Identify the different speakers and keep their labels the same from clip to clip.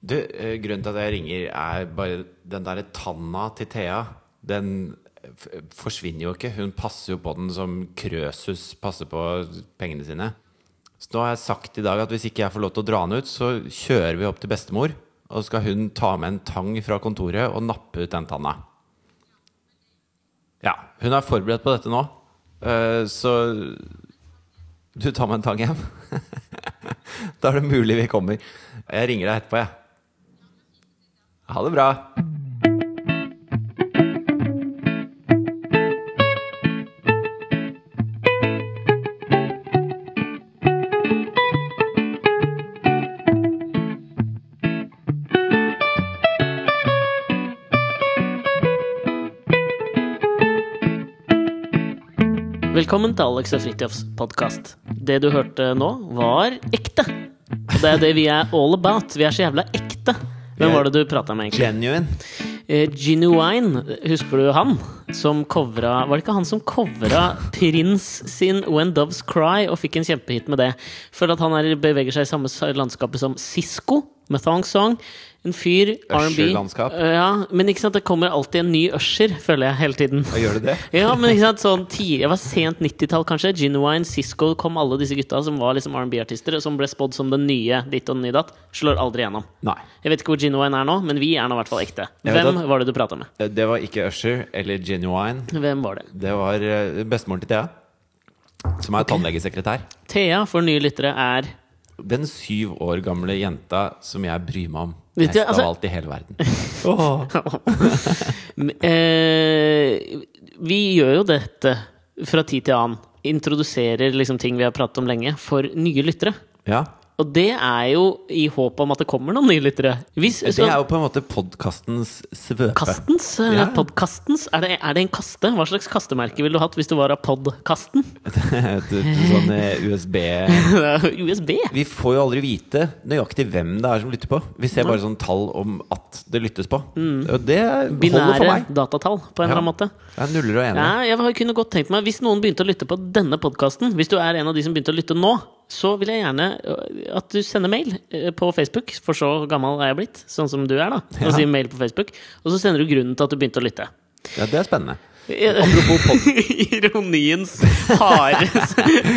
Speaker 1: Du, eh, grunnen til at jeg ringer er bare den derre tanna til Thea. Den f forsvinner jo ikke. Hun passer jo på den som Krøsus passer på pengene sine. Så nå har jeg sagt i dag at hvis ikke jeg får lov til å dra den ut, så kjører vi opp til bestemor. Og så skal hun ta med en tang fra kontoret og nappe ut den tanna. Ja, hun er forberedt på dette nå. Eh, Så du tar med en tang hjem. Da er det mulig vi kommer. Jeg ringer deg etterpå, jeg. Ha det bra.
Speaker 2: Velkommen til Alex og Fritjofs podkast. Det du hørte nå, var ekte. Og det er det vi er all about. Vi er så jævla ekte. Hvem var det du prata med, egentlig?
Speaker 1: Genuine.
Speaker 2: Eh, Genuine, husker du han? Som covra Var det ikke han som covra Prince sin When Doves Cry, og fikk en kjempehit med det? Føler at han er, beveger seg i samme s- landskapet som Sisko, med Thong Song. En fyr, R&B.
Speaker 1: Usher-landskap.
Speaker 2: Eh, Ja, men ikke sant, det kommer alltid en ny Usher, føler jeg, hele tiden.
Speaker 1: Da gjør du det.
Speaker 2: Ja, men ikke sant, sånn tidlig, det var sent 90-tall kanskje Genuine, Cisco, kom alle disse gutta som var liksom R&B-artister og Som ble spådd som den nye ditt og den nye datt Slår aldri gjennom
Speaker 1: Nei.
Speaker 2: Jeg vet ikke hvor Genuine er nå, men vi er nå i hvert fall ekte
Speaker 1: Jeg vet
Speaker 2: Hvem
Speaker 1: at-
Speaker 2: var det du pratet med?
Speaker 1: Det var ikke Usher eller Genuine.
Speaker 2: Hvem var det?
Speaker 1: Det var eh, bestemoren til Thea, som er tannlegesekretær.
Speaker 2: Thea, for nye lyttere, er
Speaker 1: Den syv år gamle jenta som jeg bryr meg om
Speaker 2: Vet
Speaker 1: mest
Speaker 2: du, altså-
Speaker 1: av alt i hele verden.
Speaker 2: eh, Vi gjør jo dette fra tid til annen Introduserer liksom ting vi har pratet om lenge For nye lyttere
Speaker 1: Ja.
Speaker 2: Og det er jo i håp om at det kommer noen nye lyttere Hvis,
Speaker 1: Det er jo på en måte podkastens svøpe.
Speaker 2: Kastens? eh,
Speaker 1: Ja.
Speaker 2: Podkastens? Er det, er det en kaste? Hva slags kastemerke ville du hatt hvis du var av podkasten?
Speaker 1: Et- et sånn eh, USB
Speaker 2: USB!
Speaker 1: Vi får jo aldri vite nøyaktig hvem det er som lytter på. Vi ser bare sånn tall om at det lyttes på. Og det holder for
Speaker 2: Mm. Binære
Speaker 1: meg.
Speaker 2: datatall, på
Speaker 1: Ja.
Speaker 2: en eller annen måte.
Speaker 1: Det er nuller og enere.
Speaker 2: Ja, jeg har- kunne godt tenkt meg, Hvis noen begynte å lytte på denne podkasten, hvis du er en av de som begynte å lytte nå, så vil jeg gjerne eh, at du sender mail eh, på Facebook, for så gammel er jeg blitt, sånn som du er, da.
Speaker 1: Ja.
Speaker 2: Og sier mail på Facebook, og så sender du grunnen til at du begynte å lytte.
Speaker 1: Ja, det er spennende.
Speaker 2: Ja.
Speaker 1: Apropos pod...
Speaker 2: Ironiens harde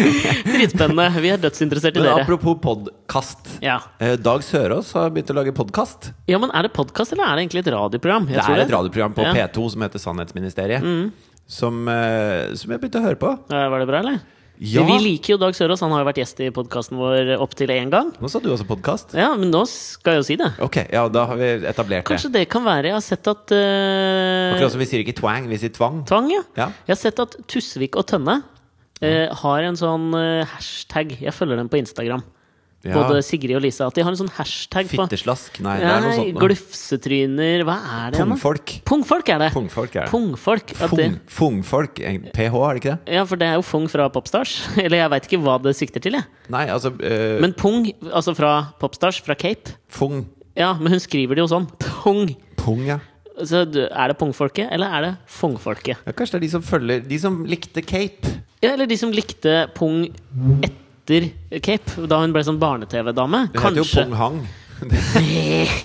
Speaker 2: Dritspennende. Vi er dødsinteressert i
Speaker 1: Men
Speaker 2: dere.
Speaker 1: apropos podkast.
Speaker 2: Ja.
Speaker 1: Eh, Dag Sørås har begynt å lage podkast.
Speaker 2: Ja, men er det podkast, eller er det egentlig et radioprogram? Jeg
Speaker 1: Det
Speaker 2: tror
Speaker 1: er et radioprogram på
Speaker 2: Ja.
Speaker 1: P2 som heter Sannhetsministeriet. Som, eh, som jeg begynte å høre på.
Speaker 2: Eh, Var det bra, eller?
Speaker 1: Ja.
Speaker 2: Vi liker jo Dag Sørås. Han har jo vært gjest i podkasten vår opptil én gang.
Speaker 1: Nå sa du også podkast.
Speaker 2: Ja, men nå skal jeg jo si det.
Speaker 1: Ok, ja, da har vi etablert
Speaker 2: Kanskje det kan være Jeg har sett at
Speaker 1: det.
Speaker 2: eh,
Speaker 1: Akkurat som vi sier ikke twang, vi sier tvang.
Speaker 2: Tvang, ja.
Speaker 1: Ja.
Speaker 2: Jeg har sett at Tusvik og Tønne eh, har en sånn eh, hashtag. Jeg følger dem på Instagram.
Speaker 1: Ja.
Speaker 2: Både Sigrid og Lisa. At de har en sånn hashtag på
Speaker 1: Fitteslask. Nei, det
Speaker 2: Nei,
Speaker 1: er noe sånt. nå.
Speaker 2: glufsetryner Hva er det? igjen da?
Speaker 1: Pungfolk.
Speaker 2: Pungfolk er det.
Speaker 1: Pungfolk er det.
Speaker 2: Pungfolk. at det-
Speaker 1: Fung, fungfolk. egentlig. PH, er det ikke det?
Speaker 2: Ja, for det er jo Fung fra Popstars. Eller jeg veit ikke hva det sikter til, jeg.
Speaker 1: Nei, altså eh,
Speaker 2: Men Pung, altså fra Popstars, fra Cape
Speaker 1: Fung.
Speaker 2: Ja, men hun skriver det jo sånn. Pung.
Speaker 1: Pung, ja.
Speaker 2: Så du- er det pungfolket, eller er det fungfolket?
Speaker 1: ja. Kanskje det er de som følger De som likte Cape.
Speaker 2: Ja, eller de som likte pung etter Cape, da hun ble sånn barne-TV-dame?
Speaker 1: Det heter jo
Speaker 2: Kanskje.
Speaker 1: Pung Hang.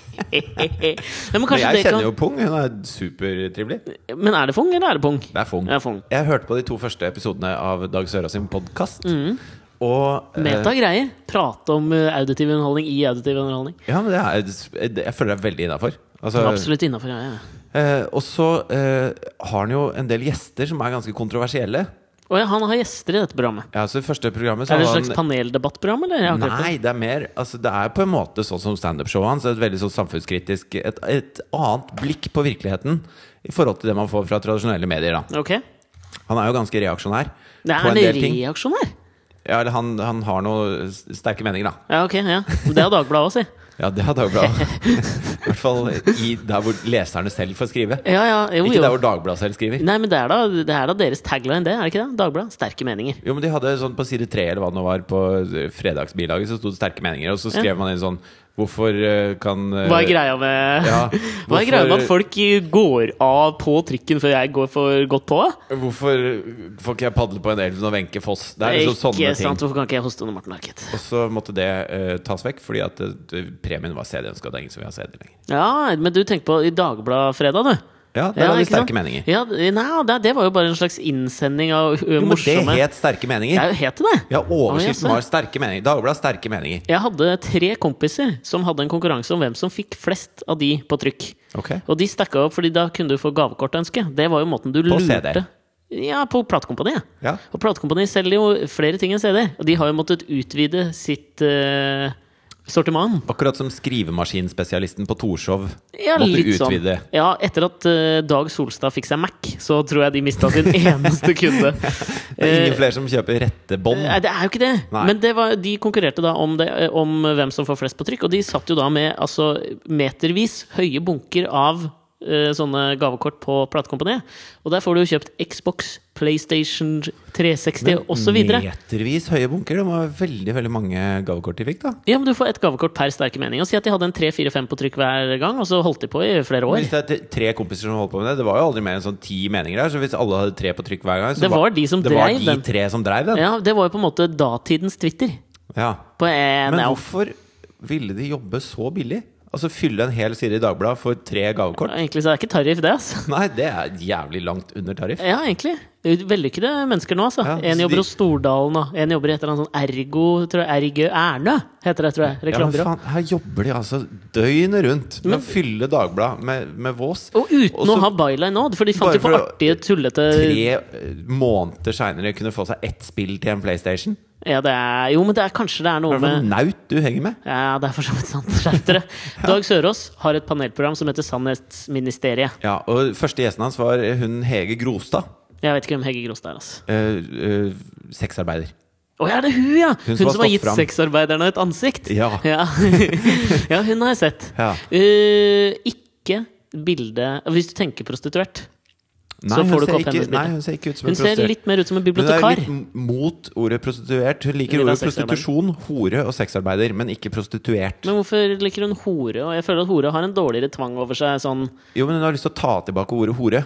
Speaker 2: ja, men
Speaker 1: Men
Speaker 2: kanskje
Speaker 1: jeg
Speaker 2: det
Speaker 1: kjenner
Speaker 2: kan
Speaker 1: jo Pung. Hun er supertrivelig.
Speaker 2: Men er det fung, eller er det pung?
Speaker 1: Det er Fung.
Speaker 2: Det er fung.
Speaker 1: Jeg hørte på de to første episodene av Dag Søra sin podkast.
Speaker 2: Mm.
Speaker 1: Og eh,
Speaker 2: Meta greier. Prate om eh, auditiv underholdning i auditiv underholdning.
Speaker 1: Ja, men det er, det, jeg føler det er veldig innafor. Altså,
Speaker 2: Absolutt innafor. Ja, ja.
Speaker 1: eh, og så eh, har han jo en del gjester som er ganske kontroversielle.
Speaker 2: Og ja, han har gjester i dette programmet.
Speaker 1: Ja, altså i første programmet så
Speaker 2: Er det et
Speaker 1: har
Speaker 2: slags
Speaker 1: han
Speaker 2: paneldebattprogram, eller? Jeg har ikke hørt om det.
Speaker 1: Nei, det er mer altså, Det er på en måte sånn som standup-showet hans. Et veldig sånn samfunnskritisk et, et annet blikk på virkeligheten i forhold til det man får fra tradisjonelle medier. Da.
Speaker 2: Ok.
Speaker 1: Han er jo ganske reaksjonær
Speaker 2: Det
Speaker 1: på
Speaker 2: er
Speaker 1: en
Speaker 2: en
Speaker 1: del ting.
Speaker 2: reaksjonær?
Speaker 1: Ja, eller han, han har noen s- sterke meninger, da.
Speaker 2: Ja, ok. ja Men Det har Dagbladet òg, si.
Speaker 1: Ja, det har Dagbladet. I hvert fall i der hvor leserne selv får skrive.
Speaker 2: Ja, ja, jo,
Speaker 1: Ikke
Speaker 2: jo.
Speaker 1: der hvor Dagbladet selv skriver.
Speaker 2: Nei, men det er, da, det er da deres tagline, det? er det ikke det? Dagbladet. Sterke meninger.
Speaker 1: Jo, men de hadde sånn på side tre eller hva det nå var, på fredagsbilaget, så sto det sterke meninger, og så skrev man inn sånn Hvorfor eh, kan eh,
Speaker 2: Hva er greia med
Speaker 1: Ja,
Speaker 2: Hva er greia med at
Speaker 1: hvorfor-
Speaker 2: folk går av på trikken før jeg går for godt på?
Speaker 1: Hvorfor får ikke jeg padle på en elv når Wenche Foss Det er liksom sånne
Speaker 2: ikke
Speaker 1: ting.
Speaker 2: sant, Hvorfor kan ikke jeg hoste under Morten Harket?
Speaker 1: Og så måtte det eh, tas vekk, fordi at eh, premien var CD-en. Skal det er ingen som vil ha CD lenger.
Speaker 2: Ja, men du tenker på i Dagbladet fredag, du.
Speaker 1: Ja, der
Speaker 2: Ja,
Speaker 1: hadde vi
Speaker 2: ikke sant?
Speaker 1: sterke meninger.
Speaker 2: Ja, d- nei, det, det var jo bare en slags innsending av ø,
Speaker 1: Jo, men det
Speaker 2: morsomme
Speaker 1: het Sterke meninger.
Speaker 2: Jeg het det!
Speaker 1: Ja, overskriften
Speaker 2: Å, sånn, jaså.
Speaker 1: var Sterke meninger. Dagbladet Sterke meninger.
Speaker 2: Jeg hadde tre kompiser som hadde en konkurranse om hvem som fikk flest av de på trykk.
Speaker 1: Ok.
Speaker 2: Og de stakka opp, fordi da kunne du få gavekortønske. Det var jo måten du
Speaker 1: På CD.
Speaker 2: lurte Ja, på platekompaniet.
Speaker 1: Ja.
Speaker 2: Og platekompani selger jo flere ting enn CD. Og de har jo måttet utvide sitt eh, sortiment.
Speaker 1: Akkurat som skrivemaskinspesialisten på Torshov
Speaker 2: Ja,
Speaker 1: måtte
Speaker 2: litt sånn.
Speaker 1: utvide.
Speaker 2: Ja, etter at eh, Dag Solstad fikk seg Mac, så tror jeg de mista sin eneste kunde.
Speaker 1: Det er
Speaker 2: Eh,
Speaker 1: ingen flere som kjøper rette bånd.
Speaker 2: Nei, det er jo ikke det!
Speaker 1: Nei.
Speaker 2: Men det var, de konkurrerte da om, det, eh, om hvem som får flest på trykk, og de satt jo da med altså, metervis høye bunker av eh, sånne gavekort på platekompaniet. Og der får du jo kjøpt Xbox, PlayStation 360 osv.
Speaker 1: Metervis høye bunker. Det var veldig veldig mange gavekort de fikk. da
Speaker 2: Ja, men du får ett gavekort per sterke mening. Og si at de hadde en tre-fire-fem på trykk hver gang, og så holdt de på i flere år.
Speaker 1: Hvis det er t- tre kompiser som holdt på med det, det var jo aldri mer enn sånn ti meninger der. Så hvis alle hadde tre på trykk hver gang, så
Speaker 2: Det var de som
Speaker 1: det var
Speaker 2: dreiv
Speaker 1: de
Speaker 2: den.
Speaker 1: tre som dreiv den.
Speaker 2: Ja, det var jo på en måte datidens Twitter.
Speaker 1: Ja.
Speaker 2: På en,
Speaker 1: Men hvorfor ville de jobbe så billig? Altså fylle en hel side i Dagbladet for tre gavekort?
Speaker 2: Egentlig så er det ikke tariff, det, altså.
Speaker 1: Nei, det er jævlig langt under tariff.
Speaker 2: Ja, egentlig. Vellykkede mennesker nå, altså.
Speaker 1: Ja,
Speaker 2: en
Speaker 1: så
Speaker 2: jobber
Speaker 1: de-
Speaker 2: hos Stordalen, og en jobber i et eller annet sånn Ergo tror jeg, Ergø Erne, heter det, tror jeg.
Speaker 1: Ja, men
Speaker 2: Reklamebyrå.
Speaker 1: faen, her jobber de altså døgnet rundt med å fylle Dagbladet med, med vås.
Speaker 2: og uten
Speaker 1: Og så
Speaker 2: å ha byline nå, for de fant
Speaker 1: Bare
Speaker 2: jo på
Speaker 1: for å-
Speaker 2: artige, tullete
Speaker 1: Tre eh, måneder seinere kunne få seg ett spill til en PlayStation.
Speaker 2: ja, det er, Jo, men det er kanskje det er
Speaker 1: Hva
Speaker 2: noe
Speaker 1: er det for
Speaker 2: med
Speaker 1: naut du henger med?
Speaker 2: Ja, det er for så vidt sant. Skjerp dere. Dag Sørås har et panelprogram som heter Sannhetsministeriet.
Speaker 1: Ja, og Første gjesten hans var eh, hun Hege Grostad.
Speaker 2: Jeg vet ikke hvem Hege Grostad er, altså.
Speaker 1: Eh, eh, sexarbeider.
Speaker 2: Å ja, det er hun, ja!
Speaker 1: som har
Speaker 2: Hun, som har
Speaker 1: stått
Speaker 2: gitt
Speaker 1: fram.
Speaker 2: sexarbeiderne et ansikt.
Speaker 1: Ja.
Speaker 2: Ja, ja hun har jeg sett.
Speaker 1: Ja.
Speaker 2: Eh, ikke bilde Hvis du tenker prostituert.
Speaker 1: Nei,
Speaker 2: Så
Speaker 1: hun
Speaker 2: får du ikke
Speaker 1: ser
Speaker 2: opp hennes
Speaker 1: ikke,
Speaker 2: bilde.
Speaker 1: nei, hun ser ikke ut som
Speaker 2: Hun
Speaker 1: en
Speaker 2: ser
Speaker 1: prostituert.
Speaker 2: litt mer ut som en
Speaker 1: Hun er
Speaker 2: bibliotekar.
Speaker 1: litt m- mot ordet prostituert. Hun liker
Speaker 2: Hun vil ha
Speaker 1: ordet prostitusjon, hore og sexarbeider, men ikke prostituert.
Speaker 2: Men hvorfor liker hun hore? Og jeg føler at hore har en dårligere tvang over seg. Sånn
Speaker 1: Jo, men hun har lyst til å ta tilbake ordet hore.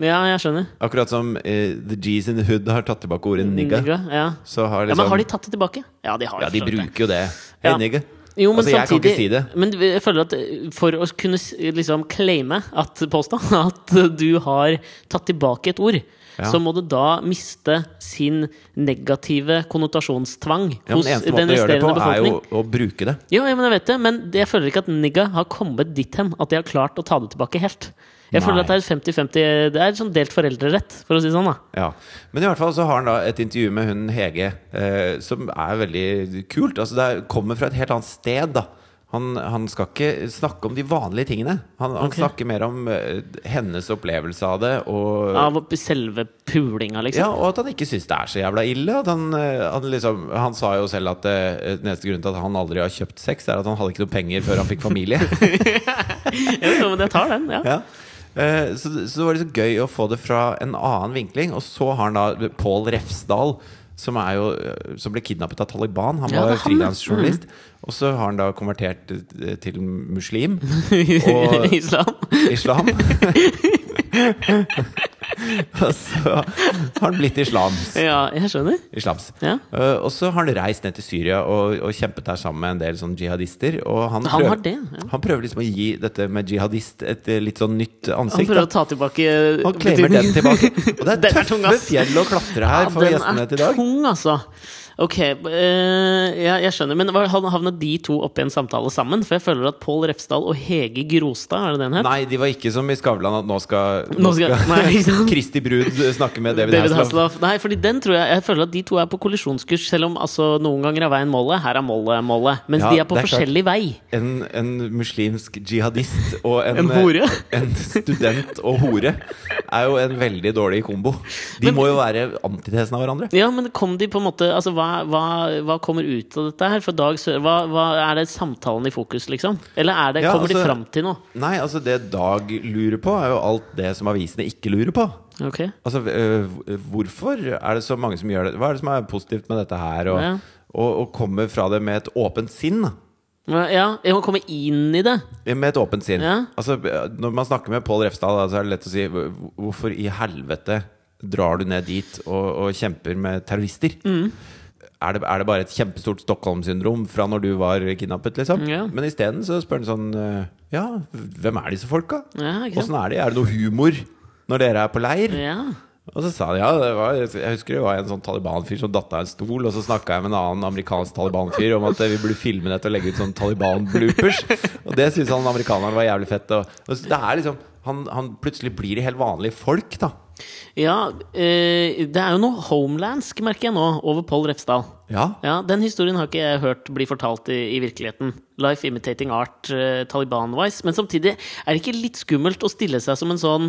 Speaker 2: Ja, jeg skjønner.
Speaker 1: Akkurat som eh, The G's in the Hood har tatt tilbake ordet nigga.
Speaker 2: Nigga, Ja.
Speaker 1: Så har
Speaker 2: ja,
Speaker 1: liksom,
Speaker 2: Men har de tatt det tilbake? Ja, de har
Speaker 1: ja, de
Speaker 2: for så vidt det.
Speaker 1: bruker jo det. Hey,
Speaker 2: Ja.
Speaker 1: nigga.
Speaker 2: Jo, men
Speaker 1: altså, jeg
Speaker 2: samtidig,
Speaker 1: kan ikke si det.
Speaker 2: Men jeg føler at eh, for å kunne s- liksom claime at påstå at du har tatt tilbake et ord,
Speaker 1: Ja.
Speaker 2: så må det da miste sin negative konnotasjonstvang
Speaker 1: Ja, men
Speaker 2: hos
Speaker 1: den eneste
Speaker 2: den
Speaker 1: måten å gjøre det
Speaker 2: resterende
Speaker 1: på, er jo
Speaker 2: befolkning.
Speaker 1: å bruke det.
Speaker 2: Jo, ja, men jeg vet det, men det- jeg føler ikke at nigga har kommet dit hen at de har klart å ta det tilbake helt. Jeg
Speaker 1: Nei.
Speaker 2: føler at det er 50-50 Det er sånn delt foreldrerett, for å si det sånn, da.
Speaker 1: Ja. Men i hvert fall så har han da et intervju med hun Hege, eh, som er veldig kult. Altså det er, kommer fra et helt annet sted, da. Han, han skal ikke snakke om de vanlige tingene. Han, han
Speaker 2: Ok.
Speaker 1: snakker mer om eh, hennes opplevelse av det, og
Speaker 2: Av selve pulinga, liksom.
Speaker 1: Øh. ja, og at han ikke syns det er så jævla ille. At han, eh, han, liksom, han sa jo selv at eh, den eneste grunnen til at han aldri har kjøpt sex, er at han hadde ikke noe penger før han fikk familie.
Speaker 2: Ja, men jeg tar den, ja.
Speaker 1: ja. Eh, så, så det var liksom gøy å få det fra en annen vinkling. Og så har han da Pål Refsdal, som, er jo, eh, som ble kidnappet av Taliban. Han
Speaker 2: Ja, det
Speaker 1: var
Speaker 2: er han, ja. Mm.
Speaker 1: frilansjournalist. Og så har han da konvertert eh, til muslim. Og-
Speaker 2: Islam.
Speaker 1: Islam. og så har han blitt islams.
Speaker 2: Ja, jeg skjønner.
Speaker 1: islams.
Speaker 2: Ja.
Speaker 1: Eh, og så har han reist ned til Syria og, og kjempet der sammen med en del sånn jihadister. Og han,
Speaker 2: Han
Speaker 1: prøv-
Speaker 2: har det, ja.
Speaker 1: han prøver liksom å gi dette med jihadist et eh, litt sånn nytt
Speaker 2: Han
Speaker 1: ansikt. da.
Speaker 2: prøver å ta tilbake eh,
Speaker 1: Han klemmer den tilbake. Og det er
Speaker 2: Den er tung,
Speaker 1: tøffe
Speaker 2: ass.
Speaker 1: fjell å klatre
Speaker 2: Ja,
Speaker 1: her for
Speaker 2: den
Speaker 1: gjestene
Speaker 2: er
Speaker 1: til i dag.
Speaker 2: tung, altså. Ok, eh, ja, jeg skjønner. Men hva- havnet de to opp i en samtale sammen? For jeg føler at Pål Refsdal og Hege Grostad, er det den het?
Speaker 1: Nei, de var ikke som i Skavlan at nå skal,
Speaker 2: Nå skal- Nei, ikke sant?
Speaker 1: Kristi Brud snakke med David,
Speaker 2: David
Speaker 1: Hasselhoff.
Speaker 2: Hasselhoff. Nei, fordi den tror jeg Jeg føler at de to er på kollisjonskurs, selv om altså, noen ganger er veien målet. Her er målet målet. Mens
Speaker 1: Ja,
Speaker 2: de er på
Speaker 1: det er klart.
Speaker 2: forskjellig vei.
Speaker 1: En, en muslimsk jihadist og en, eh,
Speaker 2: En hore.
Speaker 1: en student og hore er jo en veldig dårlig kombo. De må jo være antitesen av hverandre.
Speaker 2: Ja, men kom de på en måte Altså, hva, hva, hva kommer ut av dette her? For Dag Sør... Hva, hva, er det samtalen i fokus, liksom? Eller er det,
Speaker 1: Ja,
Speaker 2: kommer
Speaker 1: altså-
Speaker 2: de fram til noe?
Speaker 1: Nei, altså det Dag lurer på, er jo alt det som avisene ikke lurer på.
Speaker 2: Ok
Speaker 1: Altså, øh, hvorfor er det så mange som gjør det? Hva er det som er positivt med dette her? Og,
Speaker 2: Ja.
Speaker 1: og, og kommer fra det med et åpent sinn. da?
Speaker 2: Ja, jeg må komme inn i det.
Speaker 1: Med et åpent sinn.
Speaker 2: Ja.
Speaker 1: Altså, når man snakker med Pål Refstad, da, så er det lett å si "Hvor- hvorfor i helvete drar du ned dit og, og kjemper med terrorister?
Speaker 2: Mm.
Speaker 1: Er, det, er det bare et kjempestort Stockholm-syndrom fra når du var kidnappet, liksom?
Speaker 2: Ja.
Speaker 1: Men isteden så spør han sånn eh, Ja, hvem er disse folka?
Speaker 2: Ja, ikke sant?
Speaker 1: Åssen er de? Er det noe humor når dere er på leir?
Speaker 2: Ja.
Speaker 1: Og så sa han ja, det var, jeg husker det var en sånn Taliban-fyr som datt av en stol, og så snakka jeg med en annen amerikansk Taliban-fyr om at eh, vi burde filme dette og legge ut sånn Taliban-bloopers. Og det syntes han amerikaneren var jævlig fett. Og, og så det er liksom, han, han plutselig blir de helt vanlige folk, da.
Speaker 2: ja eh, det er jo noe homelandsk, merker jeg nå, over Pål Refsdal.
Speaker 1: Ja.
Speaker 2: Ja, Den historien har ikke jeg hørt bli fortalt i, i virkeligheten. Life imitating art, eh, Taliban-wise. Men samtidig er det ikke litt skummelt å stille seg som en sånn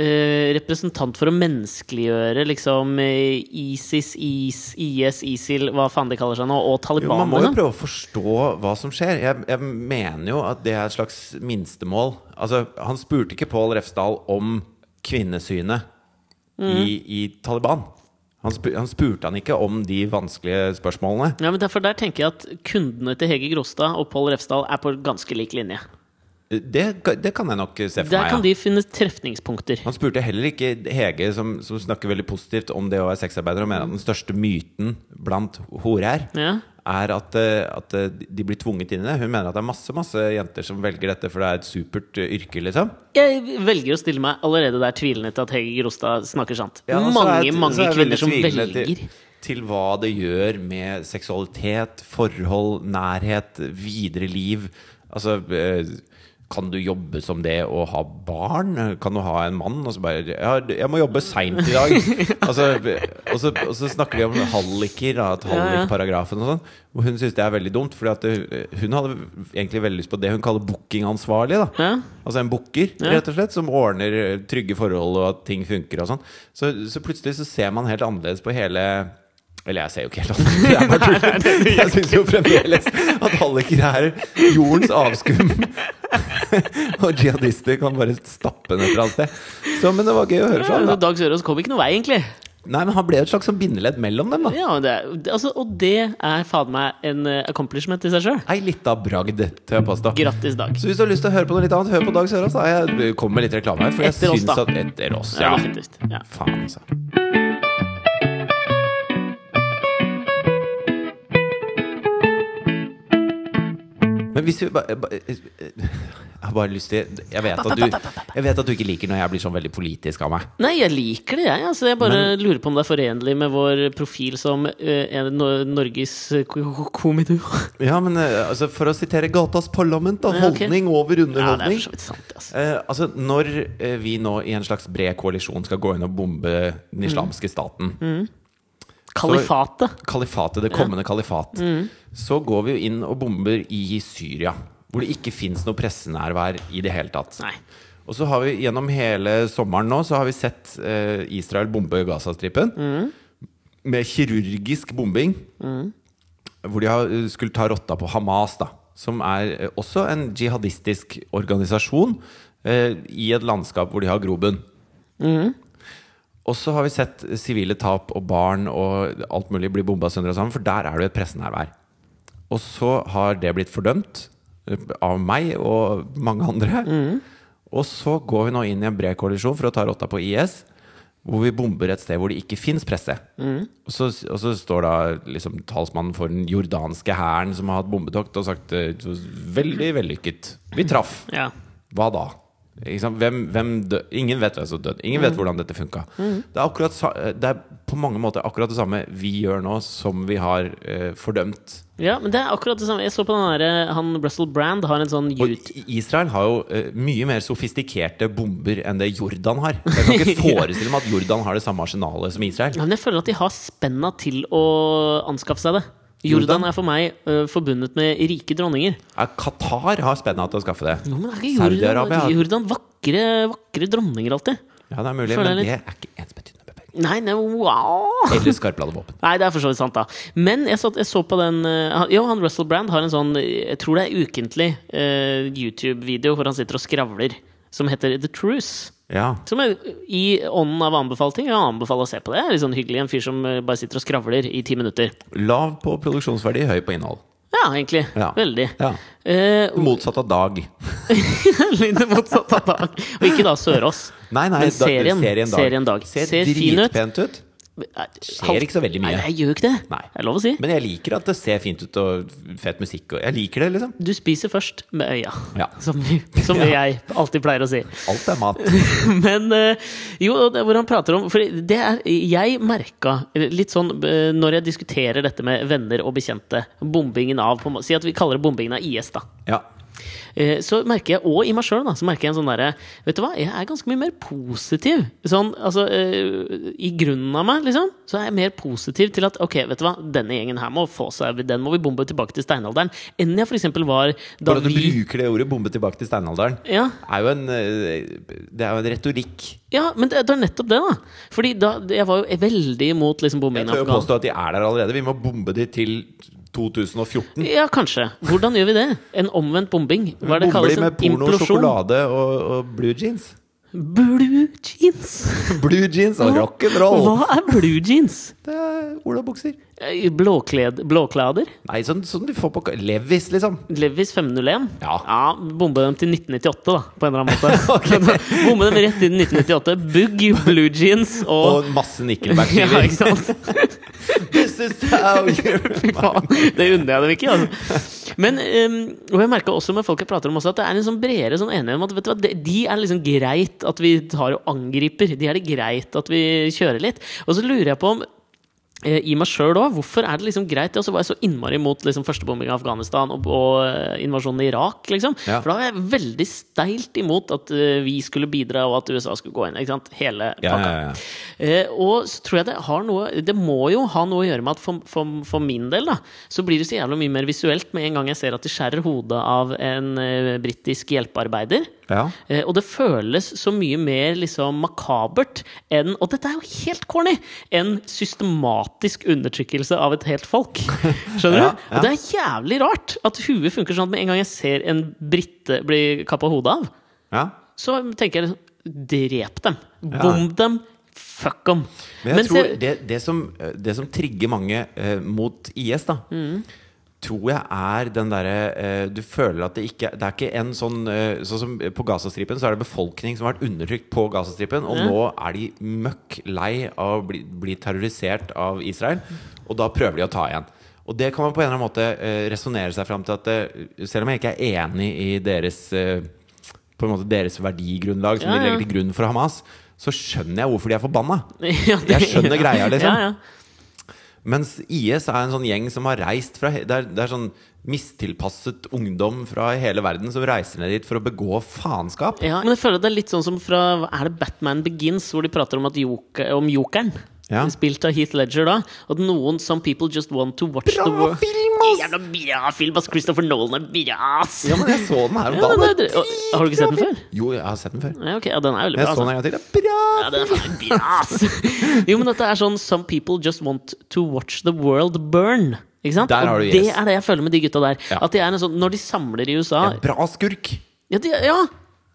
Speaker 2: eh, representant for å menneskeliggjøre liksom eh, ISIS, IS, IS, ISIL, hva faen de kaller seg nå, og
Speaker 1: Jo, man
Speaker 2: Taliban,
Speaker 1: må jo
Speaker 2: liksom?
Speaker 1: prøve å forstå hva som skjer. Jeg, jeg mener jo at det er et slags minstemål. Altså, han spurte ikke Pål Refsdal om kvinnesynet
Speaker 2: Mhm.
Speaker 1: i, i Taliban. Han, spu- han spurte han ikke om de vanskelige spørsmålene.
Speaker 2: Ja, men derfor der tenker jeg at kundene til Hege Grostad og Pål Refsdal er på ganske lik linje.
Speaker 1: Det, ka- det kan jeg nok se for
Speaker 2: Der
Speaker 1: meg.
Speaker 2: kan
Speaker 1: Ja.
Speaker 2: de finne trefningspunkter.
Speaker 1: Han spurte heller ikke Hege, som, som snakker veldig positivt om det å være sexarbeider, og mener at den største myten blant horer
Speaker 2: Ja.
Speaker 1: er at, eh, at eh, de blir tvunget inn i det. Hun mener at det er masse masse jenter som velger dette, for det er et supert eh, yrke, liksom.
Speaker 2: Jeg velger å stille meg allerede der tvilende til at Hege Grostad snakker sant.
Speaker 1: Ja, og så
Speaker 2: mange,
Speaker 1: er jeg- så er
Speaker 2: mange
Speaker 1: jeg veldig
Speaker 2: kvinner som
Speaker 1: tvilende
Speaker 2: velger.
Speaker 1: Til, til hva det gjør med seksualitet, forhold, nærhet, videre liv. Altså eh, kan du jobbe som det og ha barn? Kan du ha en mann og så bare Ja, jeg må jobbe seint i dag. altså, og, så, og så snakker de om halliker, da, at hallikparagrafen og sånn. Og hun syns det er veldig dumt, for hun hadde egentlig veldig lyst på det hun kaller bookingansvarlig. da
Speaker 2: Ja.
Speaker 1: Altså en booker,
Speaker 2: Ja.
Speaker 1: rett og slett, som ordner eh, trygge forhold og at ting funker og sånn. Så, så plutselig så ser man helt annerledes på hele Eller jeg ser jo ikke helt annerledes, jeg er bare tuller. Jeg syns jo fremdeles at halliker er jordens avskum. Og jihadister kan bare stappe den et eller annet sted. Så, men det var gøy å høre
Speaker 2: Ja,
Speaker 1: fra
Speaker 2: altså,
Speaker 1: ham. da.
Speaker 2: Dag Sørås kom ikke noen vei, egentlig.
Speaker 1: Nei, men han ble et slags sånn bindeledd mellom dem, da.
Speaker 2: Ja, det, er- det- altså, og det er faen meg en eh, accomplishment i seg sjøl.
Speaker 1: Ei lita bragd, tør jeg påstå.
Speaker 2: Grattis, Dag.
Speaker 1: Så hvis du har lyst til å høre på noe litt annet, hør på Dag Sørås. da. Jeg kommer med litt reklame her. For jeg
Speaker 2: Etter oss,
Speaker 1: syns
Speaker 2: da.
Speaker 1: At, etter oss,
Speaker 2: Ja,
Speaker 1: ja.
Speaker 2: definitivt. Ja.
Speaker 1: Faen, altså. Men hvis vi bare ba, Jeg har bare lyst til jeg vet, at du, jeg vet at du ikke liker når jeg blir sånn veldig politisk av meg.
Speaker 2: Nei, jeg liker det, jeg. Altså, jeg bare lurer på om det er forenlig med vår profil som eh, en Nor- Norges eh, ko- ko- komidu.
Speaker 1: Ja, men eh, altså, For å sitere Gatas Parlament, da.
Speaker 2: Ja, ok.
Speaker 1: Holdning over
Speaker 2: Ja, det er
Speaker 1: underholdning.
Speaker 2: for så vidt sant, altså.
Speaker 1: Eh, altså, når eh, vi nå i en slags bred koalisjon skal gå inn og bombe den islamske staten
Speaker 2: Kalifatet.
Speaker 1: kalifatet, det kommende kalifat, så går vi jo inn og bomber i Syria, hvor det ikke fins noe pressenærvær i det hele tatt.
Speaker 2: Nei.
Speaker 1: Og så har vi gjennom hele sommeren nå Så har vi sett eh, Israel bombe Gazastripen med kirurgisk bombing, hvor de har, eh, skulle ta rotta på Hamas, da, som er eh, også en jihadistisk organisasjon eh, i et landskap hvor de har grobunn. Og så har vi sett sivile tap og barn og alt mulig bli bomba sønder og sammen, for der er det jo et pressenærvær. Og så har det blitt fordømt eh, av meg og mange andre. Og så går vi nå inn i en bred koalisjon for å ta rotta på IS, hvor vi bomber et sted hvor det ikke fins presse. Og, så, og så står da liksom talsmannen for den jordanske hæren som har hatt bombetokt, og sagt eh, veldig vellykket. Vi traff.
Speaker 2: Ja.
Speaker 1: Hva da? Ikke sant? Hvem, hvem dø- Ingen vet hvem som døde. Ingen
Speaker 2: Mm.
Speaker 1: vet hvordan dette funka. Det, er akkurat sa- det er på mange måter akkurat det samme vi gjør nå, som vi har eh, fordømt.
Speaker 2: ja, men det er akkurat det samme. Jeg så på den derre Han Russell Brand har en sånn
Speaker 1: Og
Speaker 2: YouTube
Speaker 1: I- Israel har jo eh, mye mer sofistikerte bomber enn det Jordan har. Jeg kan ikke forestille meg at Jordan har det samme arsenalet som Israel.
Speaker 2: Ja, men jeg føler at de har spenna til å anskaffe seg det. Jordan
Speaker 1: Jordan?
Speaker 2: er for meg ø, forbundet med rike dronninger.
Speaker 1: Eh, Qatar har spenna til å skaffe det.
Speaker 2: Jo, men er ikke Jordan, eh,
Speaker 1: Saudi-Arabia har-
Speaker 2: Jordan vakre, vakre dronninger alltid?
Speaker 1: Ja, det er mulig,
Speaker 2: Føler
Speaker 1: men
Speaker 2: jeg
Speaker 1: det er ikke ensbetydende med penger.
Speaker 2: Nei, nei, wow!
Speaker 1: Eller skarpladet våpen.
Speaker 2: Nei, det er for så vidt sant, da. Men jeg så, jeg så på den eh, han- Jo, han Russell Brand har en sånn eh, Jeg tror det er ukentlig eh, YouTube-video hvor han sitter og skravler, som heter The Truce.
Speaker 1: Ja.
Speaker 2: Som er i ånden av anbefalt ting. Jeg anbefaler å se på det. Det er litt sånn hyggelig. En fyr som eh, bare sitter og skravler i ti minutter.
Speaker 1: Lav på produksjonsverdi, høy på innhold.
Speaker 2: Ja, Ja, egentlig.
Speaker 1: Ja.
Speaker 2: Veldig.
Speaker 1: Ja.
Speaker 2: Eh,
Speaker 1: Motsatt av Dag.
Speaker 2: Litt det motsatte av Dag. Og ikke da Sørås.
Speaker 1: Nei, nei,
Speaker 2: Men
Speaker 1: da-
Speaker 2: serien,
Speaker 1: serien Dag.
Speaker 2: serien Dag.
Speaker 1: Ser,
Speaker 2: Ser fin ut.
Speaker 1: dritpent ut. Skjer
Speaker 2: Halv-
Speaker 1: ikke så veldig mye.
Speaker 2: Nei, jeg gjør jo ikke det.
Speaker 1: Nei.
Speaker 2: Det er lov å si.
Speaker 1: Men jeg liker at det ser fint ut, og fet musikk, og jeg liker det, liksom.
Speaker 2: Du spiser først med øya,
Speaker 1: Ja.
Speaker 2: som, som
Speaker 1: Ja.
Speaker 2: jeg alltid pleier å si.
Speaker 1: Alt er mat.
Speaker 2: Men eh, jo, og det, hvor han prater om For det er Jeg merka litt sånn eh, når jeg diskuterer dette med venner og bekjente, bombingen av på en må- Si at vi kaller det bombingen av IS, da.
Speaker 1: Ja.
Speaker 2: Eh, Så merker jeg, og i meg sjøl, så merker jeg en sånn derre Vet du hva, jeg er ganske mye mer positiv. Sånn, altså eh, I grunnen av meg, liksom, så er jeg mer positiv til at ok, vet du hva, denne gjengen her må få seg Den må vi bombe tilbake til steinalderen. Enn jeg f.eks. var da
Speaker 1: Bare at du
Speaker 2: vi
Speaker 1: bruker det ordet 'bombe tilbake til steinalderen',
Speaker 2: ja,
Speaker 1: er jo en, eh, det er jo en retorikk.
Speaker 2: ja, men det, det er nettopp det, da. Fordi da, jeg var jo veldig imot liksom,
Speaker 1: Jeg
Speaker 2: bombingen
Speaker 1: tør
Speaker 2: av
Speaker 1: jo
Speaker 2: Afghanistan.
Speaker 1: påstå at de er der allerede. Vi må bombe de til 2014.
Speaker 2: Ja, kanskje. Hvordan gjør vi det? En omvendt bombing? Hva er det
Speaker 1: Bomber
Speaker 2: kalles?
Speaker 1: de
Speaker 2: En
Speaker 1: med porno,
Speaker 2: implosjon?
Speaker 1: sjokolade og, og blue jeans?
Speaker 2: Blue jeans!
Speaker 1: Blue jeans og rock'n'roll!
Speaker 2: Hva er blue jeans?
Speaker 1: Det er olabukser.
Speaker 2: Eh, Blåkled, blåklader?
Speaker 1: Nei, sånn, sånn du får på ka- Levis, liksom.
Speaker 2: Levis 501?
Speaker 1: Ja.
Speaker 2: Bombe dem til 1998, da, på en eller annen måte.
Speaker 1: Ok.
Speaker 2: Bombe dem rett inn i 1998. Bugg, blue jeans og,
Speaker 1: Og masse
Speaker 2: Ja,
Speaker 1: nikkelbackskiver.
Speaker 2: ikke sant?
Speaker 1: This is how you-
Speaker 2: Fy faen. Det unner jeg dem ikke, altså. Men ehm, Og jeg merka også med folk jeg prater om også, at det er en sånn bredere sånn enighet om at vet du hva, de, de er liksom greit at vi tar og angriper. De er det greit at vi kjører litt. Og så lurer jeg på om eh, i meg sjøl òg. Hvorfor er det liksom greit? Og så var jeg så innmari imot liksom, førstebombing av Afghanistan og, og eh, invasjonen i Irak, liksom.
Speaker 1: Ja.
Speaker 2: For da var jeg veldig steilt imot at eh, vi skulle bidra, og at USA skulle gå inn. Ikke sant? Hele pakka.
Speaker 1: Ja, ja, ja.
Speaker 2: Eh, og så tror jeg det har noe Det må jo ha noe å gjøre med at for, for, for min del, da, så blir det så jævla mye mer visuelt med en gang jeg ser at de skjærer hodet av en eh, britisk hjelpearbeider.
Speaker 1: ja.
Speaker 2: Eh, og det føles så mye mer liksom makabert enn Og dette er jo helt corny! Enn systematisk undertrykkelse av et helt folk. Skjønner
Speaker 1: Ja,
Speaker 2: du?
Speaker 1: ja.
Speaker 2: Og det er jævlig rart at huet funker sånn at med en gang jeg ser en brite bli kappa hodet av,
Speaker 1: ja.
Speaker 2: så tenker jeg liksom Drep dem! Bom dem! Fuck dem!
Speaker 1: Men jeg
Speaker 2: Mens
Speaker 1: tror
Speaker 2: jeg-
Speaker 1: det, det, som, eh, det som trigger mange eh, mot IS, da, tror jeg er den derre eh, Du føler at det ikke Det er ikke en sånn eh, Sånn som på Gazastripen, så er det befolkning som har vært undertrykt på Gazastripen, og nå er de møkk lei av å bli, bli terrorisert av Israel, og da prøver de å ta igjen. Og det kan man på en eller annen måte eh, resonnere seg fram til at eh, selv om jeg ikke er enig i deres eh, På en måte deres verdigrunnlag som
Speaker 2: Ja,
Speaker 1: de
Speaker 2: ja.
Speaker 1: legger til grunn for Hamas, så skjønner jeg hvorfor de er forbanna.
Speaker 2: ja, det-
Speaker 1: Jeg skjønner greia, liksom.
Speaker 2: Ja, ja.
Speaker 1: Mens IS er en sånn gjeng som har reist fra he- Det er, det er sånn mistilpasset ungdom fra hele verden som reiser ned dit for å begå faenskap.
Speaker 2: Ja, men jeg føler det er litt sånn som fra hva Er det Batman Begins, hvor de prater om, at joke, om jokeren?
Speaker 1: Ja.
Speaker 2: Spilt av Heath Ledger, da. At noen Some people just want to watch the
Speaker 1: Bra
Speaker 2: wo-
Speaker 1: film, ass!
Speaker 2: Jævla bra film, ass! Christopher Nolan er bra, ass!
Speaker 1: Ja, men jeg så den her om
Speaker 2: Ja,
Speaker 1: dagen.
Speaker 2: den er dr- og- har du ikke sett den før?
Speaker 1: Jo, jeg har sett den før.
Speaker 2: Ja, ok, ja, den er veldig
Speaker 1: Jeg
Speaker 2: bra.
Speaker 1: så
Speaker 2: Altså.
Speaker 1: den en gang til. Det er Bra!
Speaker 2: Ja, den er faen bra, ass! Jo, men at det er sånn Some people just want to watch the world burn. Ikke sant?
Speaker 1: Der har
Speaker 2: Og
Speaker 1: du
Speaker 2: det
Speaker 1: yes.
Speaker 2: er det jeg føler med de gutta der.
Speaker 1: Ja.
Speaker 2: At de er en sånn, Når de samler i USA
Speaker 1: Bra skurk!
Speaker 2: Ja, det, ja.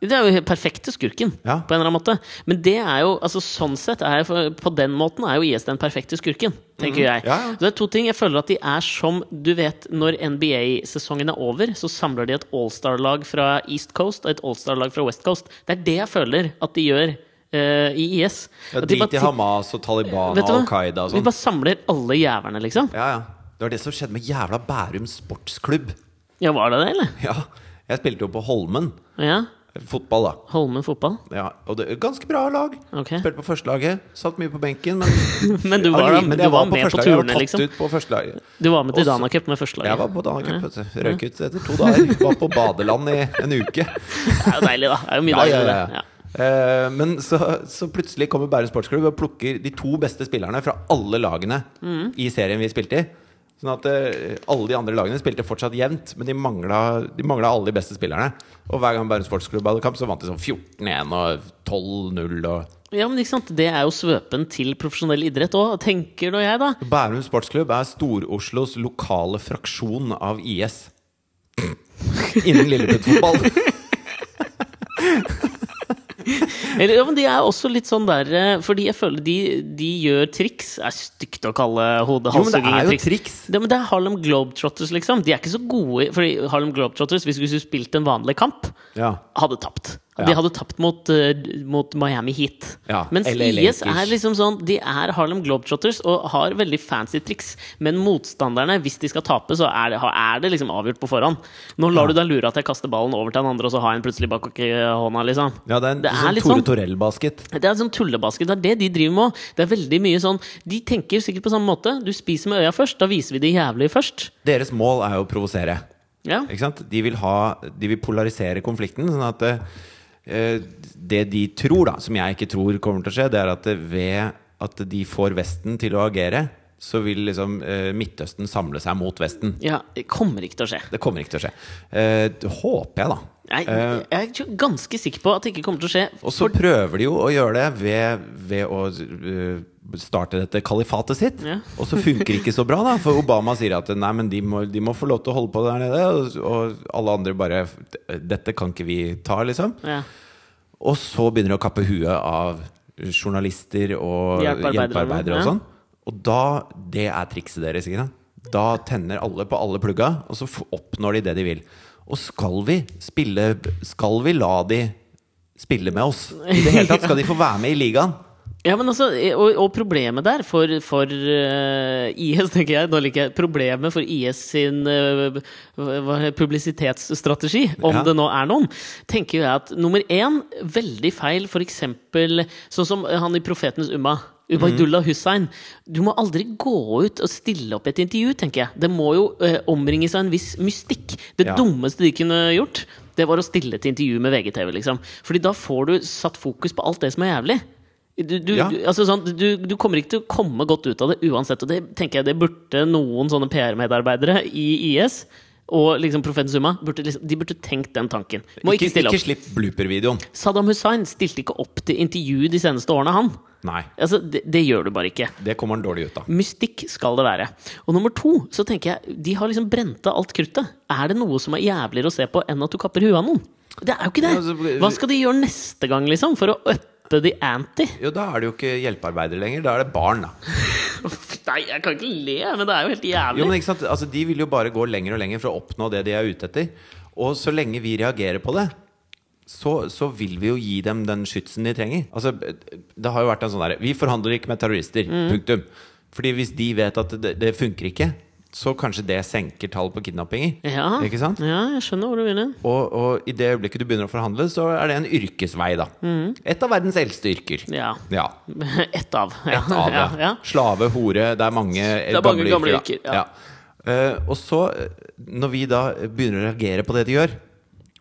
Speaker 2: det er jo helt perfekte skurken,
Speaker 1: Ja.
Speaker 2: på en eller annen måte. Men det er jo, altså sånn sett, er jeg, for- på den måten er jo IS den perfekte skurken, tenker jeg.
Speaker 1: Mhm. Ja, ja.
Speaker 2: Så det er to ting. Jeg føler at de er som Du vet, når NBA-sesongen er over, så samler de et All-Star-lag fra East Coast og et All-Star-lag fra West Coast. Det er det jeg føler at de gjør eh, i IS.
Speaker 1: Ja,
Speaker 2: At de bare
Speaker 1: Drit i
Speaker 2: ti-
Speaker 1: Hamas og Taliban
Speaker 2: Vet
Speaker 1: og
Speaker 2: du hva?
Speaker 1: Al Qaida og
Speaker 2: De
Speaker 1: sånn.
Speaker 2: bare samler alle jævlene, liksom.
Speaker 1: Ja, ja. Det var det som skjedde med jævla Bærum sportsklubb.
Speaker 2: Ja, var det det, eller?
Speaker 1: Ja. Jeg spilte jo på Holmen.
Speaker 2: Ja.
Speaker 1: Fotball, da.
Speaker 2: Holmen fotball.
Speaker 1: Ja, og det, ganske bra lag.
Speaker 2: Ok.
Speaker 1: Spilte på førstelaget. Satt mye på benken, men
Speaker 2: Men du var,
Speaker 1: men
Speaker 2: du
Speaker 1: jeg
Speaker 2: var
Speaker 1: på
Speaker 2: med på
Speaker 1: førstelaget.
Speaker 2: turene,
Speaker 1: Jeg var
Speaker 2: liksom?
Speaker 1: tatt ut på førstelaget.
Speaker 2: Du var med til
Speaker 1: Og så-
Speaker 2: Danacup med førstelaget?
Speaker 1: Jeg var på Danacup, vet du. Røyk ut etter to dager. Var på badeland i en uke.
Speaker 2: Det er jo deilig, da. Det er jo mye
Speaker 1: Ja, ja,
Speaker 2: deiligere.
Speaker 1: ja.
Speaker 2: det. Ja.
Speaker 1: Eh, Men så, så plutselig kommer Bærum sportsklubb og plukker de to beste spillerne fra alle lagene
Speaker 2: Mm.
Speaker 1: i serien vi spilte i. Sånn at eh, alle de andre lagene spilte fortsatt jevnt, men de mangla, de mangla alle de beste spillerne. Og hver gang Bærum sportsklubb hadde kamp, så vant de sånn 14-1 og 12-0 og
Speaker 2: ja, men ikke sant? Det er jo svøpen til profesjonell idrett òg, tenker nå jeg, da.
Speaker 1: Bærum sportsklubb er Stor-Oslos lokale fraksjon av IS. Innen Lilleputt-fotball.
Speaker 2: Eller, ja, men de er også litt sånn der eh, Fordi jeg føler de, de gjør triks. Det er stygt å kalle
Speaker 1: Jo, men det
Speaker 2: hodehalshugging
Speaker 1: er
Speaker 2: et
Speaker 1: jo
Speaker 2: triks.
Speaker 1: triks.
Speaker 2: Ja, men det er Harlem Globetrotters, liksom. De er ikke så gode i- Fordi Harlem Globetrotters, hvis vi skulle spilt en vanlig kamp,
Speaker 1: Ja.
Speaker 2: hadde tapt.
Speaker 1: Ja.
Speaker 2: De hadde tapt mot, eh, mot Miami Heat.
Speaker 1: Ja,
Speaker 2: Mens
Speaker 1: LA
Speaker 2: IS er
Speaker 1: Lakers.
Speaker 2: liksom sånn De er Harlem Globetrotters og har veldig fancy triks. Men motstanderne, hvis de skal tape, så er det, er det liksom avgjort på forhånd. Nå lar du deg lure at jeg kaster ballen over til han andre, og så har jeg den plutselig bak eh, hånda, liksom.
Speaker 1: ja, det er en
Speaker 2: Det er
Speaker 1: sånn
Speaker 2: litt
Speaker 1: Tore
Speaker 2: sånn-
Speaker 1: Torell-basket.
Speaker 2: Det er sånn tullebasket. Det er det de driver med òg. Det er veldig mye sånn De tenker sikkert på samme måte. Du spiser med øya først. Da viser vi de jævlige først.
Speaker 1: Deres mål er jo å provosere.
Speaker 2: Ja.
Speaker 1: Ikke sant? De vil, ha, de vil polarisere konflikten, sånn at eh, det de tror, da, som jeg ikke tror kommer til å skje, det er at eh, ved at de får Vesten til å agere, så vil liksom eh, Midtøsten samle seg mot Vesten.
Speaker 2: ja. Det kommer ikke til å skje.
Speaker 1: Det kommer ikke til å skje. Eh, det håper jeg, da.
Speaker 2: Jeg,
Speaker 1: Eh,
Speaker 2: jeg er ikke ganske sikker på at det ikke kommer til å skje.
Speaker 1: og så prøver de jo å gjøre det ved, ved å eh, starte dette kalifatet sitt.
Speaker 2: Ja.
Speaker 1: Og så funker det ikke så bra, da. For Obama sier at nei, men de må, de må få lov til å holde på der nede. Og, og alle andre bare Dette kan ikke vi ta, liksom.
Speaker 2: Ja.
Speaker 1: Og så begynner de å kappe huet av journalister og
Speaker 2: Hjelpearbeidere,
Speaker 1: hjelpearbeidere og
Speaker 2: ja.
Speaker 1: sånn. Og da Det er trikset deres, ikke sant? Da tenner alle på alle plugga, og så f- oppnår de det de vil. Og skal vi spille Skal vi la de spille med oss? I det hele tatt skal de få være med i ligaen.
Speaker 2: Ja, men altså, og, og problemet der for, for eh, IS, tenker jeg, nå liker jeg problemet for IS sin eh, hva- hva- publisitetsstrategi, om
Speaker 1: Ja.
Speaker 2: det nå er noen, tenker jeg at nummer én, veldig feil, for eksempel sånn som han i Profetens Umma. Ubaydullah
Speaker 1: Mm.
Speaker 2: Hussein. Du må aldri gå ut og stille opp i et intervju, tenker jeg. Det må jo eh, omringes av en viss mystikk. Det
Speaker 1: Ja.
Speaker 2: dummeste de kunne gjort, det var å stille til intervju med VGTV, liksom. Fordi da får du satt fokus på alt det som er jævlig. Du, du,
Speaker 1: Ja.
Speaker 2: du, altså sånn, du, du kommer ikke til å komme godt ut av det uansett. Og det tenker jeg det burde noen sånne PR-medarbeidere i IS og liksom Profeten Summa burde liksom, De burde tenkt den tanken. Må ikke,
Speaker 1: Ikke,
Speaker 2: stille
Speaker 1: ikke
Speaker 2: opp.
Speaker 1: slipp blooper-videoen.
Speaker 2: Saddam Hussein stilte ikke opp til intervju de seneste årene, han.
Speaker 1: Nei.
Speaker 2: Altså, det, det gjør du bare ikke.
Speaker 1: Det kommer han dårlig ut av.
Speaker 2: Mystikk skal det være. Og nummer to, så tenker jeg De har liksom brent av alt kruttet. Er det noe som er jævligere å se på enn at du kapper huet av noen? Det er jo ikke
Speaker 1: Ja, altså,
Speaker 2: det!
Speaker 1: så-
Speaker 2: Hva skal de gjøre neste gang, liksom? For å uppe the ante?
Speaker 1: Jo, da er det jo ikke hjelpearbeidere lenger. Da er det barn, da.
Speaker 2: Nei, jeg kan ikke le, men det er jo helt jævlig.
Speaker 1: Jo, men ikke sant? Altså, de vil jo bare gå lenger og lenger for å oppnå det de er ute etter. Og så lenge vi reagerer på det, så, så vil vi jo gi dem den skytsen de trenger. Altså, det har jo vært en sånn derre Vi forhandler ikke med terrorister.
Speaker 2: Mm.
Speaker 1: Punktum. Fordi hvis de vet at det, det funker ikke, så kanskje det senker tall på kidnappinger.
Speaker 2: ja.
Speaker 1: Ikke sant?
Speaker 2: ja, jeg skjønner hvor du vil hen.
Speaker 1: Og, og i det øyeblikket du begynner å forhandle, så er det en yrkesvei, da. Et av verdens eldste yrker.
Speaker 2: Mm. Ja.
Speaker 1: Ja.
Speaker 2: Ett av. Ja.
Speaker 1: Et av
Speaker 2: ja,
Speaker 1: det.
Speaker 2: ja.
Speaker 1: Slave, hore, det er mange,
Speaker 2: er mange gamle
Speaker 1: da.
Speaker 2: yrker, ja.
Speaker 1: Ja. Eh, og så, eh, når vi da begynner å reagere på det de gjør,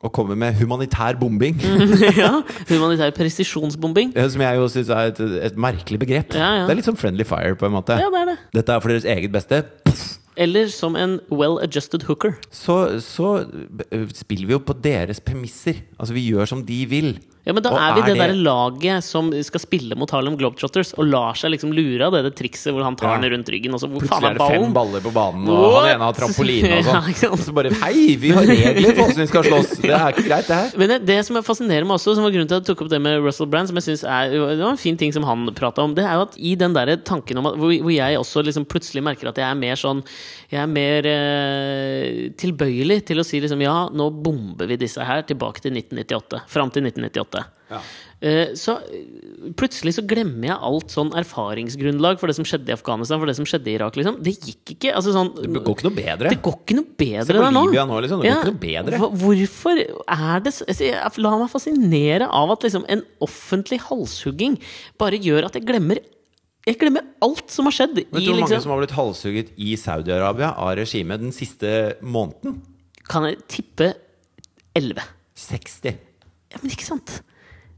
Speaker 1: og kommer med humanitær bombing,
Speaker 2: Mm. ja. Humanitær presisjonsbombing.
Speaker 1: eh, som jeg jo syns er et, et merkelig begrep
Speaker 2: Ja, ja.
Speaker 1: Det er litt som friendly fire, på en måte.
Speaker 2: Ja, det er det.
Speaker 1: Dette er for deres eget beste. Puff.
Speaker 2: Eller som en well-adjusted hooker.
Speaker 1: Så, så eh, spiller vi jo på deres premisser. Altså, vi gjør som de vil.
Speaker 2: Ja, men
Speaker 1: Og
Speaker 2: da er vi
Speaker 1: er
Speaker 2: det,
Speaker 1: det-
Speaker 2: der laget som skal spille mot Harlem Globetrotters og lar seg liksom lure av det, det trikset hvor han tar
Speaker 1: Ja.
Speaker 2: den rundt ryggen, og så hvor faen
Speaker 1: Plutselig er
Speaker 2: er
Speaker 1: det fem
Speaker 2: ballen?
Speaker 1: baller på banen, og han
Speaker 2: What?
Speaker 1: ene har trampoline og
Speaker 2: Ja,
Speaker 1: sånn.
Speaker 2: ikke sant?
Speaker 1: Og så bare Hei, vi har regler for hvordan vi skal slåss! Det er ikke greit, det her.
Speaker 2: Men det, det som jeg fascinerer meg også, som var grunnen til at jeg tok opp det med Russell Brand, som jeg synes er det var en fin ting som han prata om, det er jo at i den der tanken om at Hvor, hvor jeg også liksom plutselig merker at jeg er mer sånn Jeg er mer eh, tilbøyelig til å si liksom ja, nå bomber vi disse her tilbake til 1998. Fram til 1998. Eh, Så eh, plutselig så glemmer jeg alt sånn erfaringsgrunnlag for det som skjedde i Afghanistan, for det som skjedde i Irak, liksom. Det gikk ikke. Altså sånn
Speaker 1: Det går ikke noe bedre.
Speaker 2: det går ikke noe bedre
Speaker 1: Se på
Speaker 2: der nå.
Speaker 1: Libya nå, liksom. Det går ikke noe bedre.
Speaker 2: hva- Hvorfor er det så altså, jeg- La meg fascinere av at liksom, en offentlig halshugging bare gjør at jeg glemmer Jeg glemmer alt som har skjedd. I,
Speaker 1: Vet du hvor mange
Speaker 2: liksom,
Speaker 1: som har blitt halshugget i Saudi-Arabia av regimet den siste måneden?
Speaker 2: kan jeg tippe 11.
Speaker 1: 60.
Speaker 2: Ja, men ikke sant?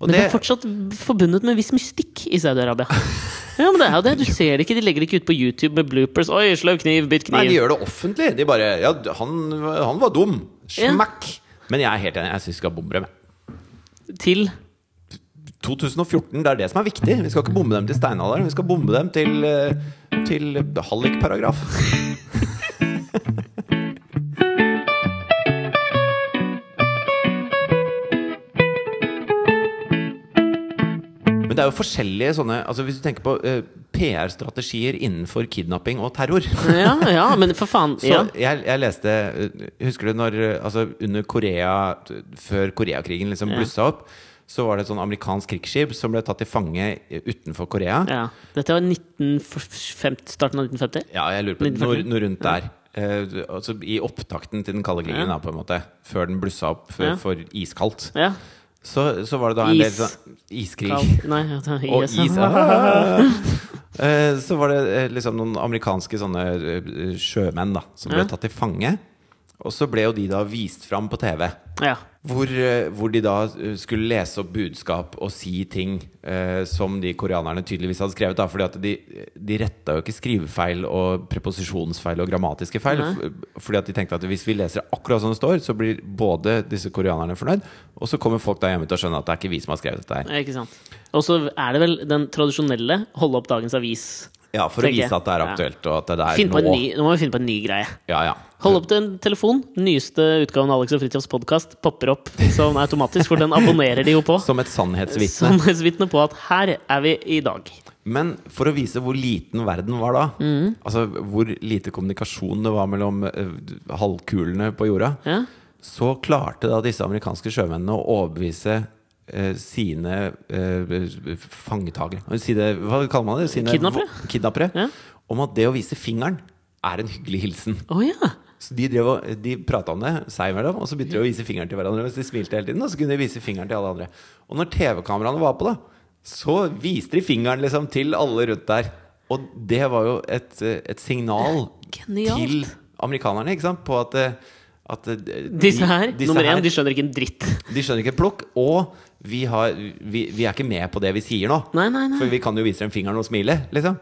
Speaker 1: Og
Speaker 2: men det,
Speaker 1: det-
Speaker 2: er fortsatt forbundet med en viss mystikk i Saudi-Arabia. Ja, men det er jo det. Du ser det ikke. De legger det ikke ut på YouTube med bloopers. Oi, sløv kniv, bytt
Speaker 1: Nei,
Speaker 2: kniv.
Speaker 1: de gjør det offentlig. De bare Ja, han, han var dum. Smakk! Men jeg er helt enig. Jeg syns vi skal bombe dem.
Speaker 2: Til
Speaker 1: 2014, det er det som er viktig. Vi skal ikke bombe dem til steinalderen. Vi skal bombe dem til, eh, til hallikparagraf. Men det er jo forskjellige sånne altså Hvis du tenker på eh, PR-strategier innenfor kidnapping og terror
Speaker 2: Ja, ja, men for faen.
Speaker 1: Så
Speaker 2: Ja.
Speaker 1: jeg, jeg leste eh, Husker du når eh, altså under Korea t- Før Koreakrigen liksom
Speaker 2: Ja.
Speaker 1: blussa opp, så var det et sånn amerikansk krigsskip som ble tatt til fange eh, utenfor Korea.
Speaker 2: ja. Dette var 1950, starten av 1950.
Speaker 1: Ja, jeg lurer på noe,
Speaker 2: 1940?
Speaker 1: noe rundt der. Eh, altså I opptakten til den kalde krigen,
Speaker 2: Ja.
Speaker 1: da, på en måte. Før den blussa opp for,
Speaker 2: Ja.
Speaker 1: for iskaldt.
Speaker 2: Ja.
Speaker 1: Så, så var det da en
Speaker 2: Is.
Speaker 1: del sånn iskrig.
Speaker 2: Kald. sånn. Nei, ja, det var
Speaker 1: Og
Speaker 2: IS.
Speaker 1: is ah! Eh, Så var det eh, liksom noen amerikanske sånne eh, sjømenn da som ble
Speaker 2: Ja.
Speaker 1: tatt til fange. Og så ble jo de da vist fram på TV.
Speaker 2: Ja.
Speaker 1: Hvor, eh, hvor de da eh, skulle lese opp budskap og si ting eh, som de koreanerne tydeligvis hadde skrevet. Da, fordi at de, de retta jo ikke skrivefeil og preposisjonsfeil og grammatiske feil.
Speaker 2: Nei.
Speaker 1: f- Fordi at de tenkte at hvis vi leser akkurat som det står, så blir både disse koreanerne fornøyd, og så kommer folk der hjemme til å skjønne at det er ikke vi som har skrevet dette her.
Speaker 2: Ikke sant. Og så er det vel den tradisjonelle holde opp dagens avis.
Speaker 1: Ja, for å
Speaker 2: Tenker jeg.
Speaker 1: vise at det er
Speaker 2: Ja.
Speaker 1: aktuelt, og at det er
Speaker 2: Finn på en
Speaker 1: nå.
Speaker 2: ny, nå må vi finne på en ny greie.
Speaker 1: Ja, ja.
Speaker 2: Hold opp til en telefon. Nyeste utgaven av Alex og Fridtjofs podkast popper opp sånn automatisk, for den abonnerer de jo på.
Speaker 1: Som et sannhetsvitne.
Speaker 2: Sannhetsvitne på at her er vi i dag.
Speaker 1: Men for å vise hvor liten verden var da,
Speaker 2: Mm.
Speaker 1: altså hvor lite kommunikasjon det var mellom eh, halvkulene på jorda,
Speaker 2: Ja.
Speaker 1: så klarte da disse amerikanske sjømennene å overbevise eh, sine eh, fangetagere sine, Hva kaller man det? Sine
Speaker 2: Kidnappere?
Speaker 1: kidnappere
Speaker 2: Ja.
Speaker 1: Om at det å vise fingeren er en hyggelig hilsen.
Speaker 2: Å ja.
Speaker 1: Så de, drev og- de prata om det seg imellom, og så begynte de å vise fingeren til hverandre. Mens de smilte hele tiden, og så kunne de vise fingeren til alle andre. Og når TV-kameraene var på, da, så viste de fingeren liksom til alle rundt der. Og det var jo et, eh, et signal
Speaker 2: Genialt.
Speaker 1: til amerikanerne ikke sant? på at, eh, at eh, de-
Speaker 2: Disse her,
Speaker 1: disse
Speaker 2: nummer
Speaker 1: her,
Speaker 2: én, de skjønner ikke en dritt.
Speaker 1: de skjønner ikke et plukk, og vi, har, vi, vi er ikke med på det vi sier nå.
Speaker 2: Nei, nei, nei.
Speaker 1: For vi kan jo vise dem fingeren og smile, liksom.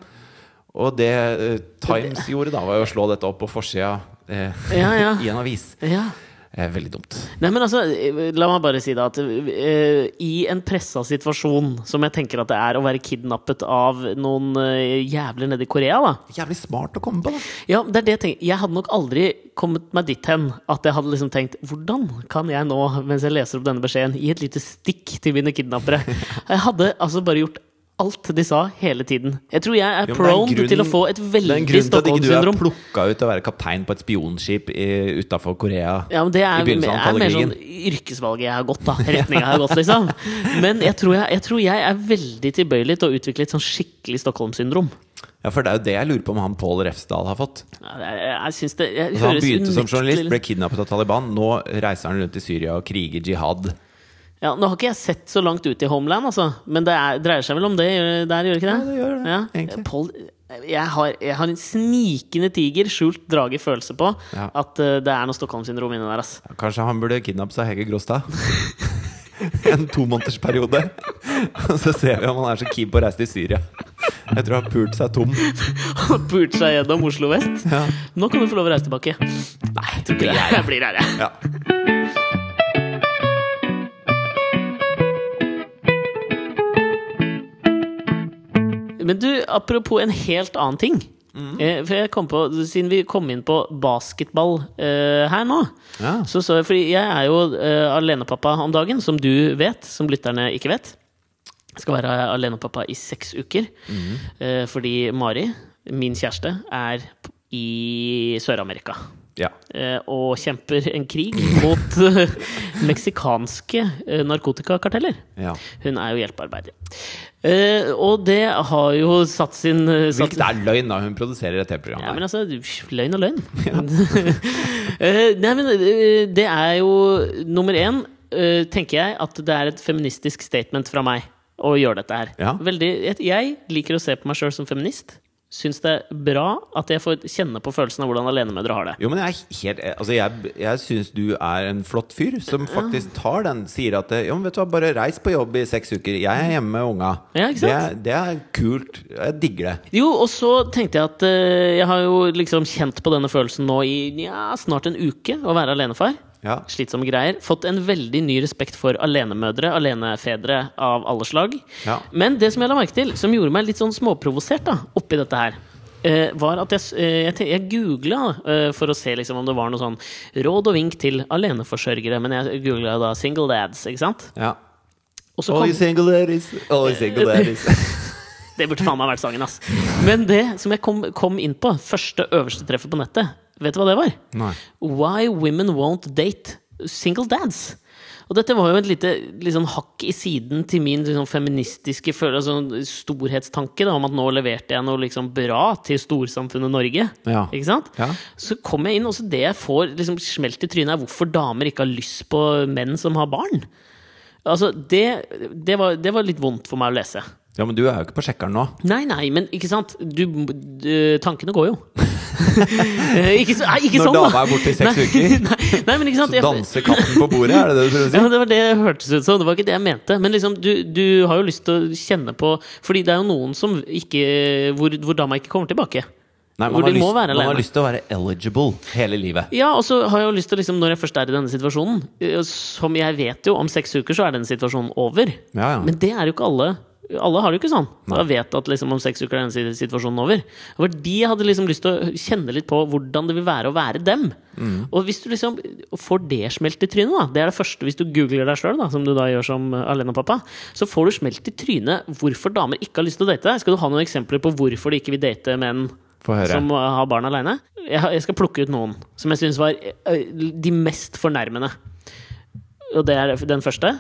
Speaker 1: Og det eh, Times gjorde da, var jo å slå dette opp på forsida eh,
Speaker 2: Ja, ja.
Speaker 1: i en avis.
Speaker 2: Ja.
Speaker 1: Eh, veldig dumt.
Speaker 2: Nei, men altså, eh, la meg bare si da at eh, i en pressa situasjon, som jeg tenker at det er å være kidnappet av noen eh, jævler nede i Korea, da
Speaker 1: Jævlig smart å komme på, da.
Speaker 2: Ja, det er det jeg tenker. Jeg hadde nok aldri kommet meg dit hen at jeg hadde liksom tenkt Hvordan kan jeg nå, mens jeg leser opp denne beskjeden, gi et lite stikk til mine kidnappere? Jeg hadde altså bare gjort alt de sa, hele tiden. Jeg tror jeg er
Speaker 1: Jo, men det er en
Speaker 2: prone
Speaker 1: grunn-
Speaker 2: til å få et
Speaker 1: Det er en
Speaker 2: veldig
Speaker 1: grunn til at ikke du er
Speaker 2: Stockholm-syndrom.
Speaker 1: plukka ut til å være kaptein på et spionskip utafor Korea.
Speaker 2: Ja, men Det er,
Speaker 1: I begynnelsen av den
Speaker 2: er
Speaker 1: kalde
Speaker 2: mer sånn yrkesvalget jeg har gått, da. Retninga jeg har gått, liksom. Men jeg tror jeg, jeg tror jeg er veldig tilbøyelig til å utvikle et sånn skikkelig Stockholm-syndrom.
Speaker 1: Ja, For det er jo det jeg lurer på om han Pål Refsdal har fått.
Speaker 2: Ja, Jeg, jeg, jeg synes det jeg
Speaker 1: Altså, han
Speaker 2: høres
Speaker 1: begynte som
Speaker 2: unektelig-
Speaker 1: journalist, ble kidnappet av Taliban. Nå reiser han rundt i Syria og kriger jihad.
Speaker 2: Ja, Nå har ikke jeg sett så langt ut i Homeland, altså. Men det er, dreier seg vel om det gjør- der, gjør det ikke det?
Speaker 1: Ja, det gjør det, egentlig.
Speaker 2: Paul, jeg, har, jeg har en snikende tiger, skjult drage følelse på
Speaker 1: Ja.
Speaker 2: at eh, det er noe Stockholm-syndrom inni der, ass.
Speaker 1: Ja, Kanskje han burde kidnappes av Hege Gråstad? en tomånedersperiode. Og så ser vi om han er så keen på å reise til Syria. Jeg tror han har pult seg tom.
Speaker 2: Pult seg gjennom Oslo vest.
Speaker 1: Ja.
Speaker 2: Nå kan du få lov å reise tilbake. Nei, jeg tror ikke det. Jeg blir her, jeg.
Speaker 1: Ja.
Speaker 2: Men du, apropos en helt annen ting. Eh, For jeg kom på, Siden vi kom inn på basketball eh, her nå
Speaker 1: Ja.
Speaker 2: så, så jeg, Fordi jeg er jo eh, alenepappa om dagen, som du vet, som lytterne ikke vet. Skal være alenepappa i seks uker. Eh, fordi Mari, min kjæreste, er p- i Sør-Amerika.
Speaker 1: ja.
Speaker 2: eh, og kjemper en krig mot eh, meksikanske eh, narkotikakarteller.
Speaker 1: ja.
Speaker 2: Hun er jo hjelpearbeider. Eh, og det har jo satt sin eh, satt,
Speaker 1: Hvilket er løgn, da. Hun produserer et TV-program.
Speaker 2: ja,
Speaker 1: her.
Speaker 2: men altså, løgn og løgn. Eh, nei, men eh, det er jo nummer én, eh, tenker jeg, at det er et feministisk statement fra meg å gjøre dette her.
Speaker 1: Ja.
Speaker 2: Veldig, jeg- jeg liker å se på meg sjøl som feminist. Syns det er bra at jeg får kjenne på følelsen av hvordan alenemødre har det.
Speaker 1: Jo, men jeg er helt Altså, jeg, jeg syns du er en flott fyr som faktisk tar den. Sier at Jo, men vet du hva, bare reis på jobb i seks uker. Jeg er hjemme med unga.
Speaker 2: Ja, ikke sant?
Speaker 1: Det, er- det er kult. Jeg digger det.
Speaker 2: Jo, og så tenkte jeg at eh, jeg har jo liksom kjent på denne følelsen nå i ja, snart en uke å være alenefar.
Speaker 1: Ja.
Speaker 2: slitsomme greier. Fått en veldig ny respekt for alenemødre, alenefedre av alle slag.
Speaker 1: Ja.
Speaker 2: Men det som jeg la merke til, som gjorde meg litt sånn småprovosert da, oppi dette her, eh, var at jeg, s- eh, jeg, ten- jeg googla eh, for å se liksom om det var noe sånn råd og vink til aleneforsørgere. Men jeg googla da single dads, ikke sant?
Speaker 1: ja.
Speaker 2: Og så kom
Speaker 1: single ladies, all you single ladies.
Speaker 2: Det burde faen meg vært sangen, ass. Men det som jeg kom, kom inn på, første øverste treffet på nettet, vet du hva det var?
Speaker 1: Nei.
Speaker 2: Why Women Won't Date Single Dads. Og dette var jo et lite litt sånn hakk i siden til min liksom, feministiske følelse, altså, storhetstanke da, om at nå leverte jeg noe liksom, bra til storsamfunnet Norge.
Speaker 1: Ja.
Speaker 2: Ikke sant?
Speaker 1: Ja.
Speaker 2: Så kom jeg inn, og så det jeg får liksom, smelt i trynet, er hvorfor damer ikke har lyst på menn som har barn. Altså, det, det, var, det var litt vondt for meg å lese.
Speaker 1: ja, men du er jo ikke på sjekkeren nå.
Speaker 2: Nei, nei, men ikke sant du, du, Tankene går jo Eh, ikke, så, nei, ikke
Speaker 1: Når
Speaker 2: sånn da
Speaker 1: dama er borte i seks
Speaker 2: Nei,
Speaker 1: uker.
Speaker 2: nei, nei, men ikke sant
Speaker 1: Så
Speaker 2: jeg,
Speaker 1: danser katten på bordet, er det det du prøver å
Speaker 2: ja,
Speaker 1: si?
Speaker 2: men Det var det det hørtes ut som, det var ikke det jeg mente Men liksom, du, du har jo lyst til å kjenne på Fordi det er jo noen som ikke Hvor, hvor dama ikke kommer tilbake
Speaker 1: Nei, man
Speaker 2: Hvor
Speaker 1: har,
Speaker 2: de må
Speaker 1: lyst,
Speaker 2: være
Speaker 1: man har
Speaker 2: alene.
Speaker 1: lyst til å være eligible hele livet.
Speaker 2: Ja, og så har jeg jo lyst til å liksom, Når jeg først er i denne situasjonen eh, Som jeg vet jo, om seks uker så er denne situasjonen over
Speaker 1: Ja, ja.
Speaker 2: Men det er jo ikke alle alle har det jo ikke sånn. Jeg vet at liksom om seks uker er denne situasjonen over. Det var de jeg hadde liksom lyst til å kjenne litt på hvordan det vil være å være dem.
Speaker 1: Mm.
Speaker 2: Og hvis du liksom får det smelt i trynet, da, det er det første hvis du googler deg sjøl, som du da gjør som eh, alenepappa, så får du smelt i trynet hvorfor damer ikke har lyst til å date. Skal du ha noen eksempler på hvorfor de ikke vil date menn
Speaker 1: Få høre.
Speaker 2: som eh, har barn aleine? Jeg, har- jeg skal plukke ut noen som jeg syns var eh, de mest fornærmende. Og det er den første.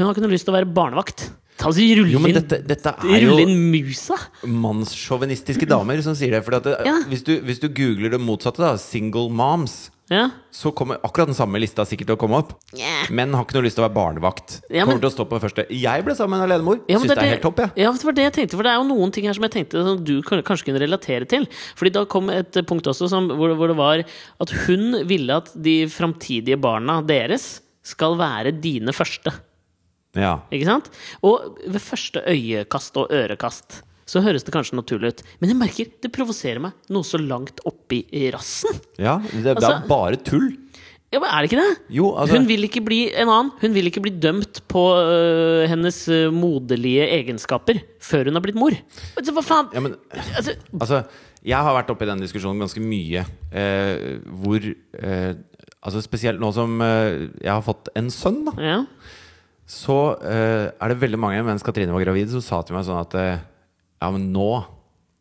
Speaker 2: Hun har ikke noe lyst til å være barnevakt. Ta altså, rulle
Speaker 1: Jo, men
Speaker 2: inn,
Speaker 1: dette, dette er jo
Speaker 2: rulle inn musa!
Speaker 1: mannssjåvinistiske damer som sier det. For at det,
Speaker 2: Ja.
Speaker 1: hvis, du, hvis du googler det motsatte, da, single moms,
Speaker 2: Ja.
Speaker 1: så kommer akkurat den samme lista sikkert til å komme opp.
Speaker 2: Nja.
Speaker 1: Menn har ikke noe lyst til å være barnevakt.
Speaker 2: Ja, men-
Speaker 1: kommer til å stå på første. Jeg ble sammen med en alenemor.
Speaker 2: Ja,
Speaker 1: Syns
Speaker 2: men
Speaker 1: det er helt topp, jeg.
Speaker 2: Ja, det var det jeg tenkte, for det er jo noen ting her som jeg tenkte som du kan- kanskje kunne relatere til. Fordi da kom et eh, punkt også som, hvor, hvor det var at hun ville at de framtidige barna deres skal være dine første.
Speaker 1: Ja.
Speaker 2: Ikke sant? Og ved første øyekast og ørekast så høres det kanskje naturlig ut. Men jeg merker det provoserer meg noe så langt oppi rassen.
Speaker 1: ja det, det er
Speaker 2: Altså-
Speaker 1: bare tull.
Speaker 2: Ja, men er det ikke det?
Speaker 1: Jo, altså-
Speaker 2: Hun vil ikke bli en annen. Hun vil ikke bli dømt på øh, hennes øh, moderlige egenskaper før hun har blitt mor. Altså, hva faen?
Speaker 1: Ja, men
Speaker 2: altså,
Speaker 1: altså Jeg har vært oppe i den diskusjonen ganske mye. Eh, hvor eh, Altså Spesielt nå som eh, jeg har fått en sønn, da.
Speaker 2: ja.
Speaker 1: så eh, er det veldig mange mens Katrine var gravid, som sa til meg sånn at eh, Ja, men nå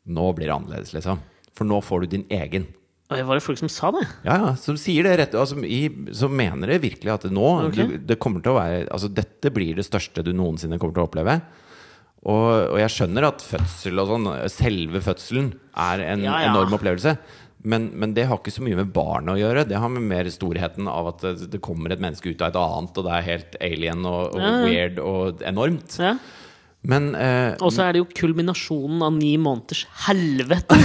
Speaker 1: Nå blir det annerledes, liksom. For nå får du din egen.
Speaker 2: Oi, Var det folk som sa det?
Speaker 1: Ja, ja, som sier det rett altså, i, Som mener det virkelig at nå du,
Speaker 2: Ok.
Speaker 1: Det kommer til å være Altså, dette blir det største du noensinne kommer til å oppleve. Og, og jeg skjønner at fødsel og sånn, selve fødselen, er en
Speaker 2: Ja, ja.
Speaker 1: enorm opplevelse. Men, men det har ikke så mye med barnet å gjøre. Det har med mer storheten av at det, det kommer et menneske ut av et annet, og det er helt alien og, og
Speaker 2: Ja, ja.
Speaker 1: weird og enormt.
Speaker 2: Ja.
Speaker 1: Men eh,
Speaker 2: Og så er det jo kulminasjonen av ni måneders helvete!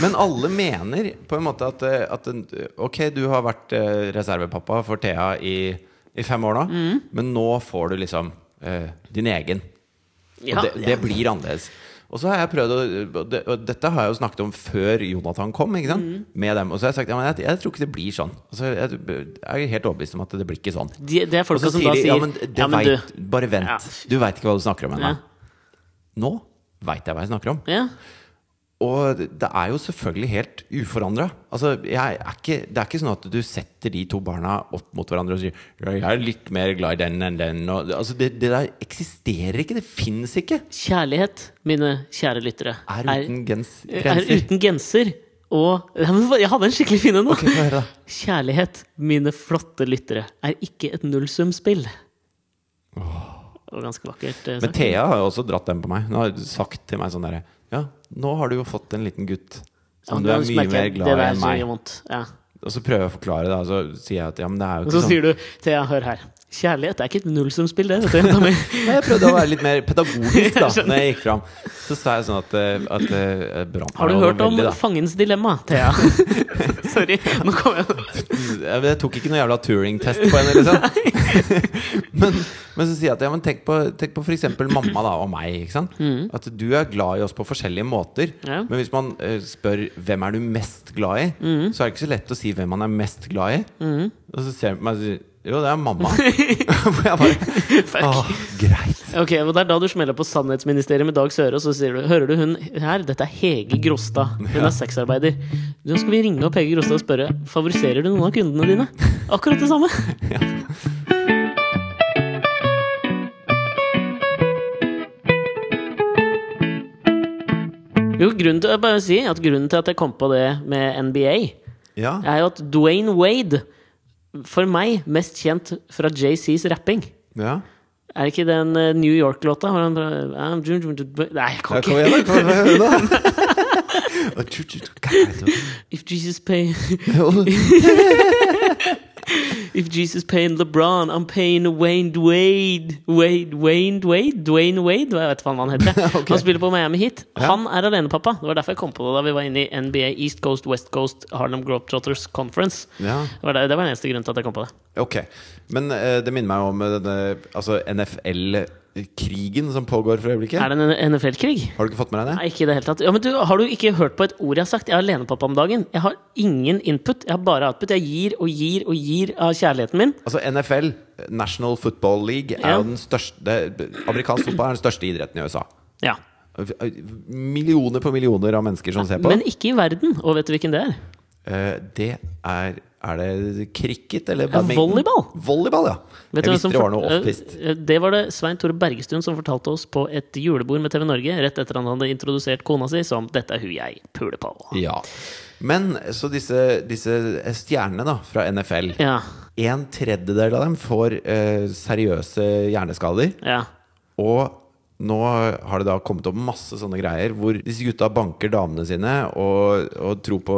Speaker 1: Men alle mener på en måte at, eh, at en- Ok, du har vært eh, reservepappa for Thea i, i fem år nå,
Speaker 2: Mm.
Speaker 1: men nå får du liksom eh, din egen.
Speaker 2: Ja,
Speaker 1: og det, det blir annerledes. Og så har jeg prøvd å, og det, og Dette har jeg jo snakket om før Jonathan kom. Ikke
Speaker 2: Mm.
Speaker 1: sant? Med dem, Og så har jeg sagt ja, men jeg, jeg tror ikke det blir sånn. Altså, jeg, jeg er helt overbevist om at det blir ikke sånn.
Speaker 2: de, det er
Speaker 1: Og
Speaker 2: folka
Speaker 1: så
Speaker 2: som
Speaker 1: sier
Speaker 2: da
Speaker 1: de
Speaker 2: sier
Speaker 1: ja, men, det vet, bare vent.
Speaker 2: Ja.
Speaker 1: Du veit ikke hva du snakker om ennå.
Speaker 2: Ja.
Speaker 1: Nå veit jeg hva jeg snakker om.
Speaker 2: ja.
Speaker 1: Og det er jo selvfølgelig helt uforandra. Altså, jeg er ikke, det er ikke sånn at du setter de to barna opp mot hverandre og sier «Ja, 'Jeg er litt mer glad i den enn den'. Og, altså, det, det der eksisterer ikke. Det fins ikke.
Speaker 2: Kjærlighet, mine kjære lyttere,
Speaker 1: Er uten gens,
Speaker 2: er
Speaker 1: grenser.
Speaker 2: uten genser og Ja, men Jeg hadde en skikkelig fin en nå!
Speaker 1: Få høre, da.
Speaker 2: Kjærlighet, mine flotte lyttere, er ikke et nullsumspill. Det var ganske vakkert. eh,
Speaker 1: Men
Speaker 2: sagt.
Speaker 1: Thea har jo også dratt den på meg. Hun har sagt til meg sånn derre Ja, nå har du jo fått en liten gutt. Som du
Speaker 2: Ja,
Speaker 1: er
Speaker 2: men
Speaker 1: mye
Speaker 2: merker
Speaker 1: mer
Speaker 2: jeg,
Speaker 1: glad i
Speaker 2: det der
Speaker 1: enn
Speaker 2: så
Speaker 1: meg.
Speaker 2: gjør vondt. Ja.
Speaker 1: Og så prøver jeg å forklare det, og så sier jeg at ja, men det er jo
Speaker 2: Og
Speaker 1: ikke
Speaker 2: så
Speaker 1: sånn.
Speaker 2: sier du, Thea, hør her. Kjærlighet er ikke et nullsumspill, det. Vet du, jenta mi.
Speaker 1: Nei, jeg prøvde å være litt mer pedagogisk da Når jeg gikk fram. Så sa jeg sånn at, eh, at eh, brant
Speaker 2: Har du
Speaker 1: meg
Speaker 2: hørt om
Speaker 1: veldig, da.
Speaker 2: fangens dilemma, Thea? Sorry. Nå kom jeg
Speaker 1: Jeg jeg tok ikke noe jævla Turing-test på henne, liksom. men, men så sier jeg at ja, men tenk på, tenk på f.eks. mamma da, og meg. Ikke sant? At du er glad i oss på forskjellige måter.
Speaker 2: Mm. Ja.
Speaker 1: Men hvis man eh, spør hvem er du mest glad i,
Speaker 2: Mm.
Speaker 1: så er det ikke så lett å si hvem man er mest glad i. Og så ser man meg og sier jo, det er mamma. Hvor jeg bare
Speaker 2: Mm. Fuck.
Speaker 1: Åh, greit.
Speaker 2: Ok, og Det er da du smeller på sannhetsministeriet med Dag Søre, og så sier du Hører du hun her? Dette er Hege Grostad. Hun er sexarbeider. Nå skal vi ringe opp Hege Grostad og spørre Favoriserer du noen av kundene dine. Akkurat det samme. Jo, grunnen til, jeg bare vil si at grunnen til at jeg kom på det med NBA,
Speaker 1: Ja.
Speaker 2: er jo at Dwayne Wade, for meg, mest kjent fra JCs rapping.
Speaker 1: ja.
Speaker 2: Er ikke den eh, New York-låta? Har han Ah, bra- I'm dream- dream- dream- Nei, jeg
Speaker 1: Ja,
Speaker 2: kan ikke.
Speaker 1: kom igjen, da. Kom igjen, da. Og tju, tju, tju, kaka,
Speaker 2: If Jesus pay
Speaker 1: tju.
Speaker 2: If Jesus paying LeBron, I'm paying Wayne Wade. Wade, Wayne Wade? Dwayne Wade? Hva- Jeg vet faen hva han heter.
Speaker 1: Ok.
Speaker 2: Han spiller på Miami Heat.
Speaker 1: Ja.
Speaker 2: Han er alenepappa. Det var derfor jeg kom på det da vi var inne i NBA East Coast West Coast Harlem Globetrotters Conference.
Speaker 1: Ja.
Speaker 2: Det var, det, det var den eneste grunnen til at jeg kom på det.
Speaker 1: Ok. Men eh, det minner meg om eh, denne altså NFL-krigen som pågår for øyeblikket.
Speaker 2: Er det en NFL-krig?
Speaker 1: Har du ikke fått med deg det?
Speaker 2: Nei, ikke i det hele tatt. Ja, men du, har du ikke hørt på et ord jeg har sagt? Jeg er alenepappa om dagen. Jeg har ingen input. Jeg har bare output. Jeg gir og gir og gir av kjærligheten min.
Speaker 1: Altså NFL, National Football League, er
Speaker 2: Ja.
Speaker 1: jo den største det- Amerikansk fotball er den største idretten i USA.
Speaker 2: Ja.
Speaker 1: Millioner på millioner av mennesker som ser på.
Speaker 2: Men ikke i verden. Og vet du hvilken det er?
Speaker 1: Eh, det er Er det cricket eller
Speaker 2: Ja, volleyball.
Speaker 1: Volleyball, ja.
Speaker 2: Vet du
Speaker 1: jeg
Speaker 2: hvem
Speaker 1: visste
Speaker 2: som
Speaker 1: det var noe
Speaker 2: fort-
Speaker 1: off-pist.
Speaker 2: Eh, eh, Det var det Svein Tore Bergestuen som fortalte oss på et julebord med TV Norge rett etter han hadde introdusert kona si som 'Dette er hun jeg puler på'.
Speaker 1: Ja. Men så disse, disse stjernene da, fra NFL
Speaker 2: Ja.
Speaker 1: En tredjedel av dem får eh, seriøse hjerneskader.
Speaker 2: Ja.
Speaker 1: Og nå har det da kommet opp masse sånne greier hvor disse gutta banker damene sine og, og tror på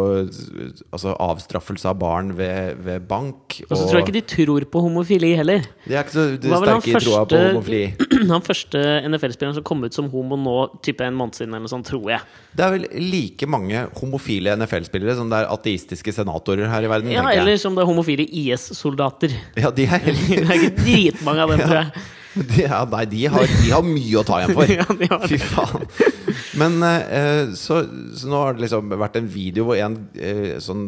Speaker 1: altså, avstraffelse av barn ved, ved bank.
Speaker 2: Og så tror jeg ikke de tror på homofili heller.
Speaker 1: De er ikke så de
Speaker 2: Hva var det
Speaker 1: sterke i
Speaker 2: han
Speaker 1: troa på
Speaker 2: første-
Speaker 1: homofili.
Speaker 2: Han første NFL-spilleren som kom ut som homo nå, type en måned siden, eller noe sånt, tror jeg.
Speaker 1: Det er vel like mange homofile NFL-spillere som det er ateistiske senatorer her i verden.
Speaker 2: Ja,
Speaker 1: tenker jeg.
Speaker 2: eller som det er homofile IS-soldater.
Speaker 1: ja, de er
Speaker 2: Det er ikke dritmange av dem, tror jeg.
Speaker 1: de, ja, Nei, de har, de har mye å ta igjen for.
Speaker 2: Ja, de har det.
Speaker 1: Fy faen. Men eh, så, så nå har det liksom vært en video hvor en eh, sånn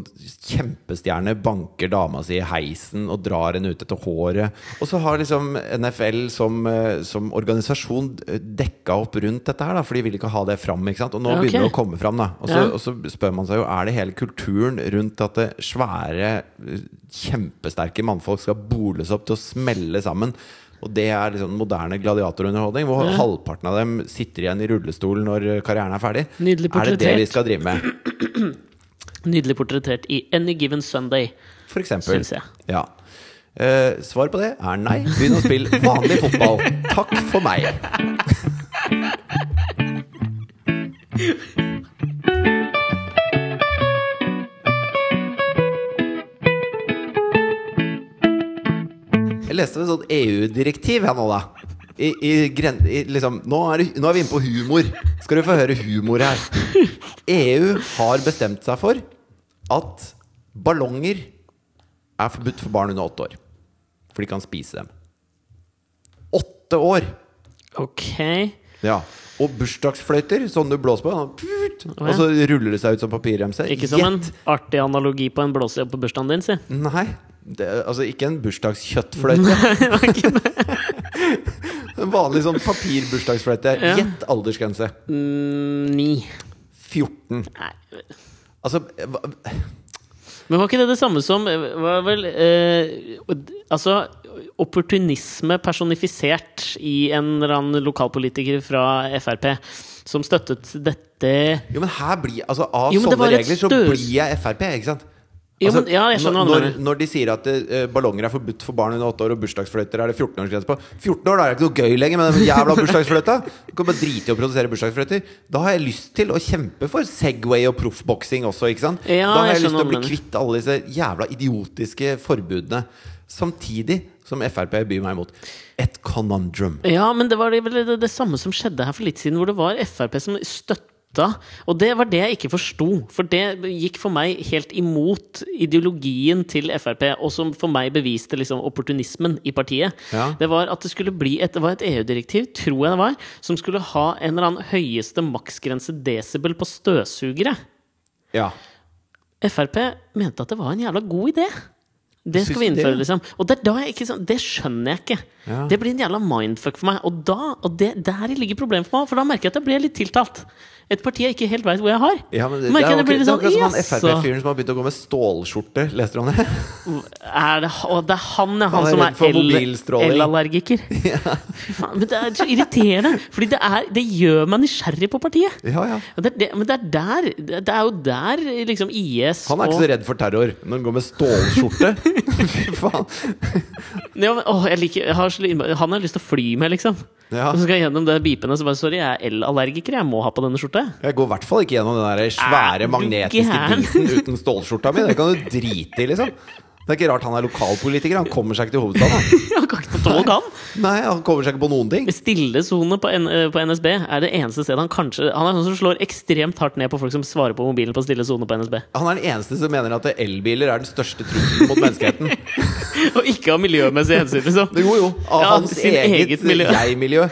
Speaker 1: kjempestjerne banker dama si i heisen og drar henne ut etter håret. Og så har liksom NFL som, eh, som organisasjon eh, dekka opp rundt dette her, da, for de vil ikke ha det fram. Ikke sant? Og nå
Speaker 2: Ja, ok.
Speaker 1: begynner det å komme fram. Da. Og, så,
Speaker 2: Ja.
Speaker 1: og så spør man seg jo er det hele kulturen rundt at det svære, eh, kjempesterke mannfolk skal boles opp til å smelle sammen. Og det er liksom moderne gladiatorunderholdning, hvor
Speaker 2: Ja.
Speaker 1: halvparten av dem sitter igjen i rullestol når eh, karrieren er ferdig.
Speaker 2: Nydelig
Speaker 1: er det det vi
Speaker 2: portrettert.
Speaker 1: skal drive med?
Speaker 2: Nydelig portrettert i Any Given Sunday.
Speaker 1: For eksempel.
Speaker 2: Syns jeg.
Speaker 1: Ja. Eh, svar på det er nei. Begynn å spille vanlig fotball. Takk for meg. Jeg leste et sånt EU-direktiv jeg nå, da. I, i, gren- i, liksom, nå, er det, nå er vi inne på humor. Skal du få høre humor her. EU har bestemt seg for at ballonger er forbudt for barn under åtte år. For de kan spise dem. Åtte år!
Speaker 2: Ok.
Speaker 1: Ja. Og bursdagsfløyter, sånn du blåser på. sånn, put, Og så ruller det seg ut som papirremse.
Speaker 2: Ikke som en
Speaker 1: Gjett!
Speaker 2: artig analogi på en blåsejobb på bursdagen din, si.
Speaker 1: Nei. Det, altså ikke en bursdagskjøttfløyte. en vanlig sånn papirbursdagsfløyte.
Speaker 2: Ja.
Speaker 1: Gjett aldersgrense.
Speaker 2: Mm, ni.
Speaker 1: 14.
Speaker 2: Nei.
Speaker 1: Altså hva-
Speaker 2: Men var ikke det det samme som var vel, eh, Altså, opportunisme personifisert i en eller annen lokalpolitiker fra Frp som støttet dette
Speaker 1: Jo, men her blir Altså, av
Speaker 2: Jo, men det
Speaker 1: sånne
Speaker 2: var et
Speaker 1: regler så
Speaker 2: støs.
Speaker 1: blir jeg Frp, ikke sant? Altså,
Speaker 2: Jo, men- ja, jeg skjønner
Speaker 1: når,
Speaker 2: hva du
Speaker 1: når,
Speaker 2: mener.
Speaker 1: når de sier at eh, ballonger er forbudt for barn under åtte år, og bursdagsfløyter er det 14-årsgrense på 14 år, da er det ikke noe gøy lenger med den jævla bursdagsfløyta! Du kan bare drite i å produsere bursdagsfløyter. Da har jeg lyst til å kjempe for Segway og proffboksing også, ikke sant?
Speaker 2: Ja,
Speaker 1: da har jeg,
Speaker 2: jeg
Speaker 1: lyst til å
Speaker 2: skjønner hva du
Speaker 1: bli
Speaker 2: mener.
Speaker 1: kvitt alle disse jævla idiotiske forbudene. Samtidig som Frp byr meg imot. Et conundrum.
Speaker 2: Ja, men det var det- vel det, det samme som skjedde her for litt siden, hvor det var Frp som støtta. Og det var det jeg ikke forsto, for det gikk for meg helt imot ideologien til Frp, og som for meg beviste liksom opportunismen i partiet.
Speaker 1: Ja.
Speaker 2: Det var at det skulle bli et, det var et EU-direktiv, tror jeg det var, som skulle ha en eller annen høyeste maksgrense desibel på støvsugere.
Speaker 1: Ja.
Speaker 2: Frp mente at det var en jævla god idé. Det skal vi
Speaker 3: Syns du det?
Speaker 2: innføre, liksom. Og det, er da jeg ikke, sånn- det skjønner jeg ikke.
Speaker 1: Ja.
Speaker 2: Det blir en jævla mindfuck for meg. Og, da, og det, der ligger problemet for meg, for da merker jeg at jeg blir litt tiltalt. Et parti jeg ikke helt veit hvor jeg har.
Speaker 1: Ja, men det, det, er
Speaker 2: merker jeg det blir
Speaker 1: akkurat,
Speaker 2: litt
Speaker 1: det er akkurat som han
Speaker 2: sånn Jaså!
Speaker 1: Frp-fyren som har begynt å gå med stålskjorte. Leste du om det?
Speaker 2: Er det, og det er han, ja. Han,
Speaker 1: er
Speaker 2: som
Speaker 1: redd for
Speaker 2: er el-
Speaker 1: mobilstråling.
Speaker 2: el-allergiker. Fy faen, Men det er så irriterende! Fordi det, er, det gjør meg nysgjerrig på partiet.
Speaker 1: Ja, ja.
Speaker 2: Og Det, er det, men det er der Det er jo der liksom IS
Speaker 1: Han er ikke så redd for terror når han går med stålskjorte. Fy faen.
Speaker 2: Ja, men, åh, jeg liker, jeg har så, innmari- han har jeg lyst til å fly med, liksom.
Speaker 1: Ja.
Speaker 2: Og så skal jeg gjennom det bipene så bare Sorry, jeg er el-allergiker. Jeg må ha på denne skjorta. jeg».
Speaker 1: Jeg går i hvert fall ikke gjennom den der svære
Speaker 2: Er du
Speaker 1: magnetiske
Speaker 2: gæren?
Speaker 1: biten uten stålskjorta mi. Det kan du drite i, liksom. Det er ikke rart han er lokalpolitiker. Han kommer seg ikke til hovedstaden.
Speaker 2: Jeg kan ikke ta tog, han!
Speaker 1: han. Nei, han kommer seg ikke på noen ting.
Speaker 2: Stillesone på, N- eh, på NSB er det eneste stedet han kanskje Han er sånn som slår ekstremt hardt ned på folk som svarer på mobilen på stille sone på NSB.
Speaker 1: Han er den eneste som mener at elbiler er den største trusselen mot menneskeheten.
Speaker 2: Og ikke av miljømessige hensyn, liksom.
Speaker 1: Jo, jo. Av
Speaker 2: Ja,
Speaker 1: hans
Speaker 2: sin
Speaker 1: eget,
Speaker 2: eget miljø.
Speaker 1: jeg-miljø.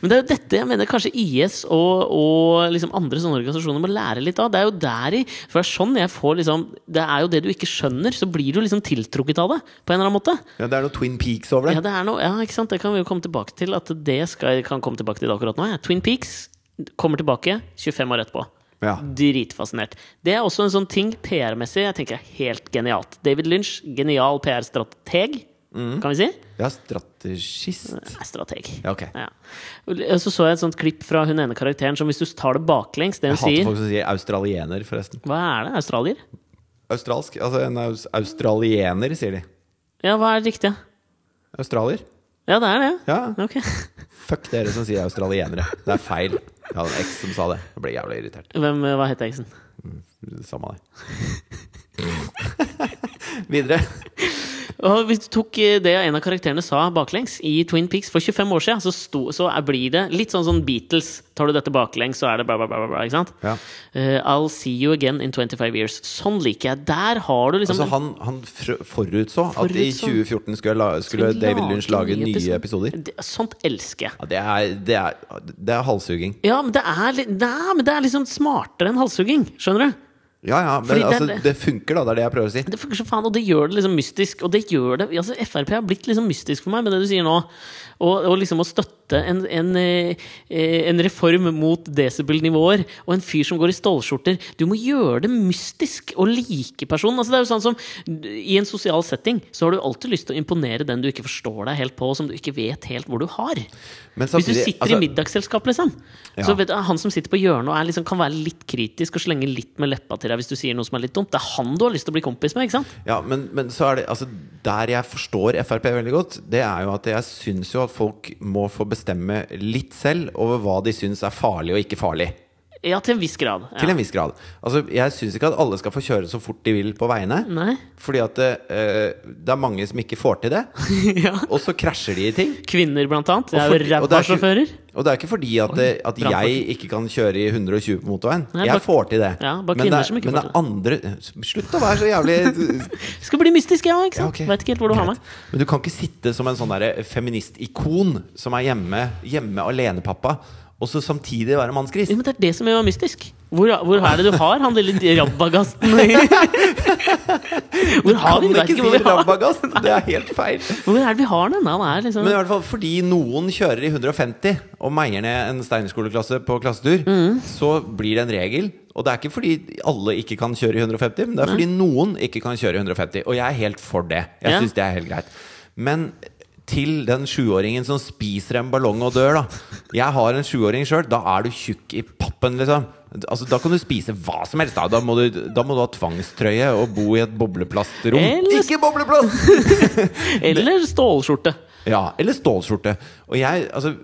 Speaker 2: Men det er jo dette jeg mener kanskje IS og, og liksom andre sånne organisasjoner må lære litt av. Det er jo der i For det er sånn jeg får liksom Det er jo det du ikke skjønner, så blir du liksom tiltrukket av det på en eller annen måte.
Speaker 1: Ja, det er noe Twin Peaks over
Speaker 2: Ja,
Speaker 1: det.
Speaker 2: det er noe, ja, ikke sant? Det kan vi jo komme tilbake til. At det skal, kan komme tilbake til akkurat nå. Ja. Twin Peaks kommer tilbake 25 år etterpå.
Speaker 1: Ja.
Speaker 2: Dritfascinert. Det er også en sånn ting PR-messig jeg tenker er helt genialt. David Lynch, genial PR-strateg, kan vi si.
Speaker 1: Ja, strategist.
Speaker 2: Er strateg.
Speaker 1: Mm. Ja, ok.
Speaker 2: Ja. Og så så jeg et sånt klipp fra hun ene karakteren som hvis du tar det baklengs Det
Speaker 1: Jeg
Speaker 2: hun
Speaker 1: hater
Speaker 2: sier
Speaker 1: folk som sier australiener, forresten.
Speaker 2: Hva er det? Australier?
Speaker 1: Australsk? Altså en aus australiener, sier de.
Speaker 2: Ja, hva er det riktige?
Speaker 1: Australier?
Speaker 2: Ja, det er det.
Speaker 1: Ja.
Speaker 2: Ok.
Speaker 1: Fuck dere som sier australienere. Det er feil. Jeg hadde en eks som sa det. Jeg ble jævlig irritert.
Speaker 2: Hvem, hva heter eksen?
Speaker 1: Samme det. Videre.
Speaker 2: Og hvis du tok eh, det en av karakterene sa baklengs i Twin Peaks for 25 år siden, så, sto, så er- blir det litt sånn som Beatles. Tar du dette baklengs, så er det bla, bla, bla. bla, bla ikke sant?
Speaker 1: Ja.
Speaker 2: Eh, I'll see you again in 25 years. Sånn liker jeg. Der har du liksom
Speaker 1: Altså han, han fr- forutså at i
Speaker 2: Forutså.
Speaker 1: 2014 skulle, la, skulle
Speaker 2: Lage
Speaker 1: David Lynch lage nye
Speaker 2: episoder.
Speaker 1: episoder.
Speaker 2: Det, sånt elsker jeg.
Speaker 1: Ja, det er, det er, det er halshugging.
Speaker 2: Ja, men det er, litt- nei, men det er liksom smartere enn halshugging. Skjønner du?
Speaker 1: Ja, ja, men
Speaker 2: Fordi det er
Speaker 1: altså,
Speaker 2: det-
Speaker 1: det funker, da. Det er det jeg prøver å si.
Speaker 2: Det funker som faen, og det gjør det liksom mystisk. Og det gjør det, altså Frp har blitt liksom mystisk for meg med det du sier nå. Og, og liksom å støtte en, en, eh, eh, en reform mot desibel-nivåer og en fyr som går i stålskjorter. Du må gjøre det mystisk og like personen. Altså det er jo sånn som I en sosial setting så har du alltid lyst til å imponere den du ikke forstår deg helt på, og som du ikke vet helt hvor du har.
Speaker 1: Men
Speaker 2: Hvis du
Speaker 1: samtidig,
Speaker 2: sitter
Speaker 1: altså-
Speaker 2: i middagsselskap, liksom,
Speaker 1: Ja.
Speaker 2: så vet du, han som sitter på hjørnet og er liksom, kan være litt kritisk og slenge litt med leppa til deg hvis du sier noe som er litt dumt, det er han du har lyst til å bli kompis med, ikke sant?
Speaker 1: Ja, men, men så er det Altså, der jeg forstår Frp veldig godt, det er jo at jeg syns jo at folk må få bestemme litt selv over hva de syns er farlig og ikke farlig.
Speaker 2: Ja, til en viss grad. Ja.
Speaker 1: Til en viss grad. Altså, jeg syns ikke at alle skal få kjøre så fort de vil på veiene.
Speaker 2: Nei.
Speaker 1: Fordi at det, eh, det er mange som ikke får til det.
Speaker 2: ja.
Speaker 1: Og så krasjer de i ting.
Speaker 2: Kvinner, blant annet. Det
Speaker 1: Og
Speaker 2: er
Speaker 1: fordi-
Speaker 2: jo
Speaker 1: og det
Speaker 2: ræva
Speaker 1: er ikke-
Speaker 2: sjåfører.
Speaker 1: Og det er ikke fordi at, det, at
Speaker 2: brannfakkel.
Speaker 1: jeg ikke kan kjøre i 120 på motorveien.
Speaker 2: Nei,
Speaker 1: jeg
Speaker 2: bare-
Speaker 1: får til det.
Speaker 2: Ja, bare
Speaker 1: men det
Speaker 2: kvinner
Speaker 1: er,
Speaker 2: som ikke
Speaker 1: men
Speaker 2: får
Speaker 1: det er andre Slutt å være så jævlig
Speaker 2: Skal bli mystisk, jeg òg, ikke
Speaker 1: Ja,
Speaker 2: sant?
Speaker 1: ok.
Speaker 2: Vet ikke helt hvor du har
Speaker 1: Greit.
Speaker 2: meg.
Speaker 1: Men du kan ikke sitte som en sånn derre feministikon som er hjemme, hjemme alenepappa, og så samtidig være mannsgris.
Speaker 2: Jo, men det er det som gjør meg mystisk. Hvor, hvor er det du har han lille rabagasten? hvor har
Speaker 1: Kan
Speaker 2: vi? Vet
Speaker 1: ikke
Speaker 2: ikke hvor
Speaker 1: si
Speaker 2: vi har
Speaker 1: rabagast! Det er helt feil.
Speaker 2: Hvor er det vi har den? Han er liksom
Speaker 1: Men i hvert fall fordi noen kjører i 150 og meier ned en steinerskoleklasse på klassetur, så blir det en regel. Og det er ikke fordi alle ikke kan kjøre i 150, men det er fordi noen ikke kan kjøre i 150. Og jeg er helt for det. Jeg
Speaker 2: Ja.
Speaker 1: synes det er helt greit. Men til den sjuåringen som spiser en ballong og dør, da. Jeg har en sjuåring sjøl. Da er du tjukk i pappen, liksom. Altså, da kan du spise hva som helst. Da, da, må, du, da må du ha tvangstrøye og bo i et bobleplastrom.
Speaker 2: Eller-
Speaker 1: Ikke bobleplast!
Speaker 2: Eller stålskjorte.
Speaker 1: Ja, eller stålskjorte. Og jeg, altså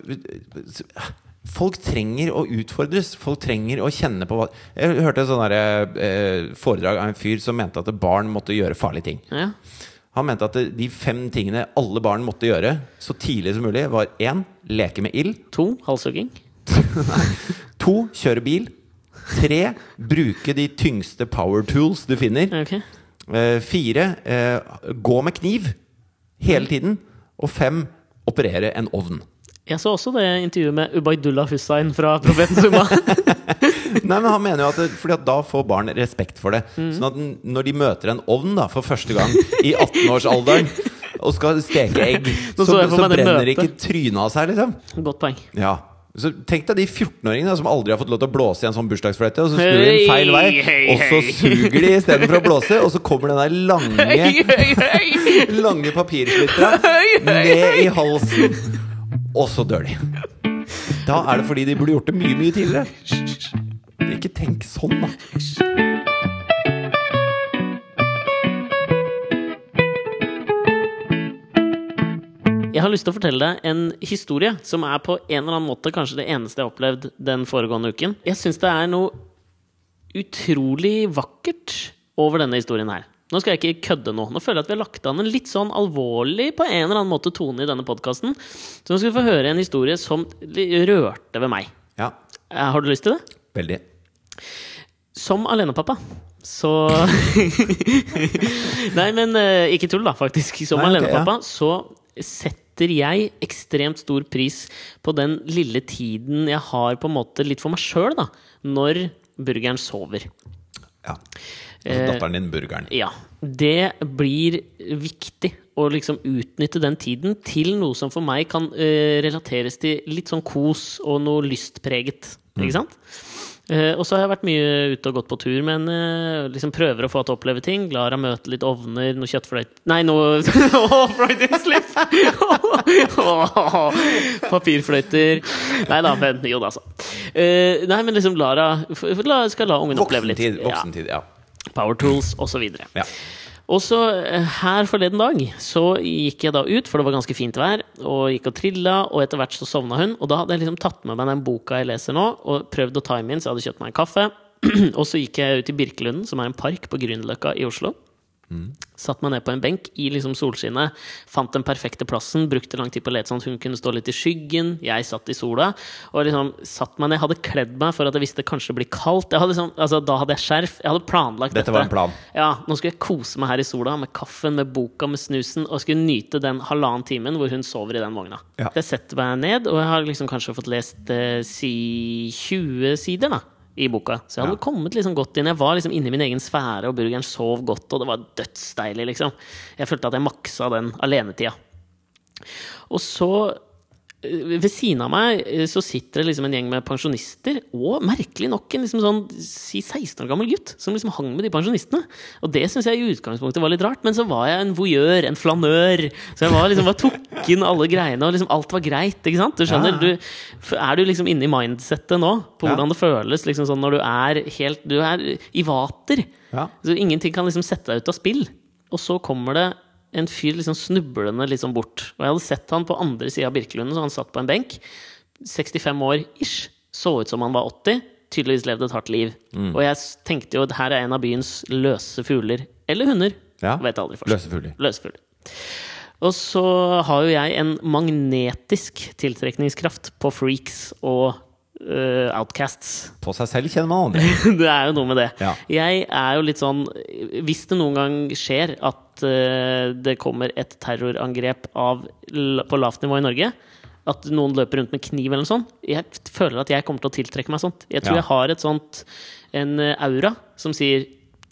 Speaker 1: Folk trenger å utfordres. Folk trenger å kjenne på hva Jeg hørte et sånt der, eh, foredrag av en fyr som mente at barn måtte gjøre farlige ting.
Speaker 2: Ja.
Speaker 1: Han mente at de fem tingene alle barn måtte gjøre så tidlig som mulig, var én leke med ild.
Speaker 2: To. Halshugging.
Speaker 1: To kjøre bil. Tre bruke de tyngste power tools du finner.
Speaker 2: Ja, Ok.
Speaker 1: Eh, fire eh, gå med kniv hele tiden. Og fem operere en ovn.
Speaker 2: Jeg så også det intervjuet med Ubaydullah Hussain fra Profeten Summa.
Speaker 1: Nei, men han mener jo at det, Fordi at da får barn respekt for det.
Speaker 2: Mm.
Speaker 1: Sånn at n- når de møter en ovn da for første gang i 18-årsalderen og skal steke egg,
Speaker 2: Nå
Speaker 1: så,
Speaker 2: så jeg for
Speaker 1: så
Speaker 2: meg det
Speaker 1: brenner
Speaker 2: møtet.
Speaker 1: ikke trynet av seg, liksom.
Speaker 2: Godt poeng.
Speaker 1: Ja så Tenk deg de 14-åringene da, som aldri har fått lov til å blåse i en sånn bursdagsfløyte, og så snur de den feil vei,
Speaker 2: Hei, hei,
Speaker 1: og så
Speaker 2: hei.
Speaker 1: suger de istedenfor å blåse, og så kommer den der lange,
Speaker 2: Høy, høy.
Speaker 1: lange papirslittera ned i halsen, og så dør de. Da er det fordi de burde gjort det mye, mye tidligere. Ikke tenk sånn, da.
Speaker 2: Jeg har lyst til å fortelle deg en historie som er på en eller annen måte kanskje det eneste jeg har opplevd den foregående uken. Jeg syns det er noe utrolig vakkert over denne historien her. Nå skal jeg ikke kødde nå. Nå føler jeg at vi har lagt an en litt sånn alvorlig på en eller annen måte tone i denne podkasten. Så nå skal vi få høre en historie som li- rørte ved meg.
Speaker 1: Ja,
Speaker 2: Eh, Har du lyst til det?
Speaker 1: veldig.
Speaker 2: Som alenepappa. Så Nei, men eh, ikke tull, da, faktisk. Som
Speaker 1: Nei, ok,
Speaker 2: alenepappa så setter jeg ekstremt stor pris på den lille tiden jeg har på en måte litt for meg sjøl, da. Når burgeren sover.
Speaker 1: Ja. Altså
Speaker 2: Eh,
Speaker 1: datteren din, burgeren.
Speaker 2: Ja. Det blir viktig å liksom utnytte den tiden til noe som for meg kan eh, relateres til litt sånn kos og noe lystpreget. Ikke sant? Eh, og så har jeg vært mye ute og gått på tur, men eh, liksom prøver å få henne til å oppleve ting. Lar henne møte litt ovner, noe kjøttfløyte Nei, noe Åh, Freudian slip! Åh, Papirfløyter. Nei da, men jo da, så. Eh, nei, men liksom Lara la, Skal la ungen oppleve litt.
Speaker 1: Voksentid. Voksentid,
Speaker 2: Ja
Speaker 1: ja.
Speaker 2: power tools osv.
Speaker 1: Ja.
Speaker 2: Og så eh, her forleden dag så gikk jeg da ut, for det var ganske fint vær, og gikk og trilla, og etter hvert så sovna hun. Og da hadde jeg liksom tatt med meg den boka jeg leser nå, og prøvd å time inn, så jeg hadde kjøpt meg en kaffe. og så gikk jeg ut i Birkelunden, som er en park på Grünerløkka i Oslo.
Speaker 1: Mm.
Speaker 2: Satt meg ned på en benk i liksom solskinnet, fant den perfekte plassen, brukte lang tid på å lete sånn at hun kunne stå litt i skyggen, jeg satt i sola. Og liksom satt meg ned, hadde kledd meg for at jeg visste det kanskje blir kaldt. Jeg hadde liksom, altså, da hadde jeg skjerf, jeg hadde planlagt dette.
Speaker 1: Dette var en plan.
Speaker 2: Ja, nå skulle jeg kose meg her i sola med kaffen, med boka, med snusen, og skulle nyte den halvannen timen hvor hun sover i den vogna.
Speaker 1: Ja.
Speaker 2: Jeg setter meg ned, og jeg har liksom kanskje fått lest eh, si 20 sider da, i boka. Så jeg hadde kommet liksom godt inn. Jeg var liksom inne i min egen sfære, og burgeren sov godt, og det var dødsdeilig, liksom. Jeg følte at jeg maksa den alenetida. Og så eh, ved siden av meg eh, så sitter det liksom en gjeng med pensjonister, og merkelig nok en liksom sånn, si 16 år gammel gutt, som liksom hang med de pensjonistene. Og det syns jeg i utgangspunktet var litt rart, men så var jeg en voyeur, en flanør. Så jeg var liksom bare tok inn alle greiene, og liksom alt var greit. ikke sant? Du skjønner?
Speaker 1: Ja.
Speaker 2: Du, f- er du liksom inne i mindsettet nå, på
Speaker 1: Ja.
Speaker 2: hvordan det føles liksom sånn når du er helt Du er i vater.
Speaker 1: Ja.
Speaker 2: Så ingenting kan liksom sette deg ut av spill. Og så kommer det en fyr liksom snublende liksom bort. Og jeg hadde sett han på andre sida av Birkelunden, så han satt på en benk. 65 år ish. Så ut som han var 80. Tydeligvis levd et hardt liv.
Speaker 1: Mm.
Speaker 2: Og jeg s- tenkte jo at her er en av byens løse fugler. Eller hunder.
Speaker 1: Ja.
Speaker 2: Vet aldri først.
Speaker 1: Løse fugler.
Speaker 2: Løsfugler. Og så har jo jeg en magnetisk tiltrekningskraft på freaks og eh, outcasts
Speaker 1: På seg selv kjenner man andre.
Speaker 2: det er jo noe med det.
Speaker 1: Ja.
Speaker 2: Jeg er jo litt sånn Hvis det noen gang skjer at eh, det kommer et terrorangrep av, l- på lavt nivå i Norge, at noen løper rundt med kniv eller noe sånt, jeg t- føler at jeg kommer til å tiltrekke meg sånt. Jeg tror
Speaker 1: Ja.
Speaker 2: jeg har et sånt en eh, aura som sier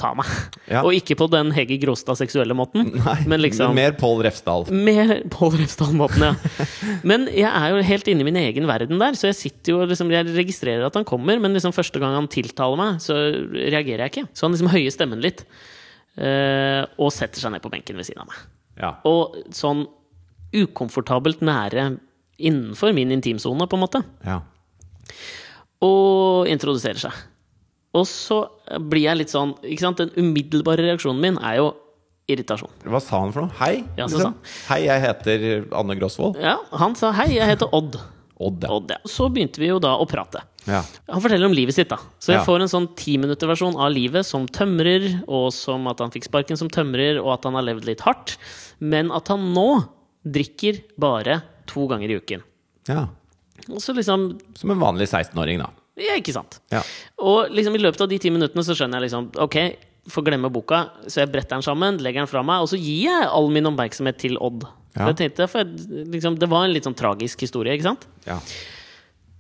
Speaker 2: 'ta meg'.
Speaker 1: Ja.
Speaker 2: Og ikke på den Hege Gråstad-seksuelle måten,
Speaker 1: Nei,
Speaker 2: men liksom
Speaker 1: Mer Pål Refsdal.
Speaker 2: mer Pål Refsdal-måten, ja. Men jeg er jo helt inne i min egen verden der, så jeg sitter jo og liksom, jeg registrerer at han kommer, men liksom første gang han tiltaler meg, så reagerer jeg ikke. Så han liksom høyer stemmen litt, eh, og setter seg ned på benken ved siden av meg.
Speaker 1: Ja.
Speaker 2: Og sånn ukomfortabelt nære innenfor min intimsone, på en måte
Speaker 1: ja.
Speaker 2: og introduserer seg. Og så blir jeg litt sånn ikke sant? Den umiddelbare reaksjonen min er jo irritasjon.
Speaker 1: Hva sa han for noe? Hei? liksom.
Speaker 2: Ja, så sa han.
Speaker 1: Hei, jeg heter Anne Grosvold.
Speaker 2: Ja, han sa 'hei, jeg heter Odd'.
Speaker 1: Odd, ja.
Speaker 2: Odd ja. Så begynte vi jo da å prate.
Speaker 1: ja.
Speaker 2: Han forteller om livet sitt, da. Så jeg
Speaker 1: Ja.
Speaker 2: får en sånn timinutterversjon av livet som tømrer, og som at han fikk sparken som tømrer, og at han har levd litt hardt. Men at han nå drikker bare to ganger i uken.
Speaker 1: ja.
Speaker 2: Og så liksom
Speaker 1: Som en vanlig 16-åring, da.
Speaker 2: Ja, ikke sant?
Speaker 1: Ja.
Speaker 2: Og liksom i løpet av de ti minuttene så skjønner jeg liksom Ok, får glemme boka. Så jeg bretter den sammen, legger den fra meg, og så gir jeg all min oppmerksomhet til Odd.
Speaker 1: Ja.
Speaker 2: For jeg tenkte, for jeg, liksom, Det var en litt sånn tragisk historie, ikke sant?
Speaker 1: Ja.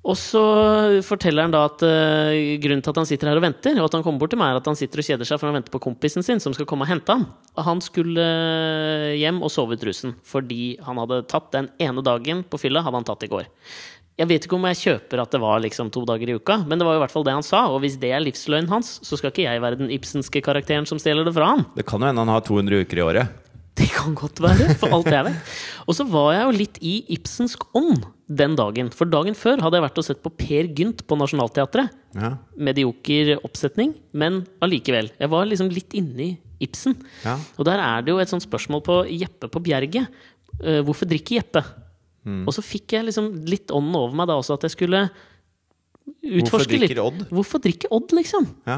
Speaker 2: Og så forteller han da at eh, grunnen til at han sitter her og venter, og at han kommer bort til meg, er at han sitter og kjeder seg for han venter på kompisen sin som skal komme og hente ham. Og Han skulle eh, hjem og sove ut rusen, fordi han hadde tatt den ene dagen på fylla hadde han tatt i går. Jeg vet ikke om jeg kjøper at det var liksom to dager i uka, men det var jo i hvert fall det han sa, og hvis det er livsløgnen hans, så skal ikke jeg være den ibsenske karakteren som stjeler det fra han.
Speaker 1: Det kan jo hende han har 200 uker i året.
Speaker 2: Det kan godt være, for alt jeg vet. Og så var jeg jo litt i Ibsensk ånd den dagen. For dagen før hadde jeg vært og sett på Per Gynt på Nationaltheatret.
Speaker 1: Ja.
Speaker 2: Medioker oppsetning, men allikevel. Jeg var liksom litt inni Ibsen.
Speaker 1: Ja.
Speaker 2: Og der er det jo et sånt spørsmål på Jeppe på Bjerget. Eh, hvorfor drikker Jeppe?
Speaker 1: Mm.
Speaker 2: Og så fikk jeg liksom litt ånden over meg da også, at jeg skulle
Speaker 1: Hvorfor
Speaker 2: utforske litt.
Speaker 1: drikker Odd?
Speaker 2: Hvorfor drikker Odd, liksom?
Speaker 1: Ja.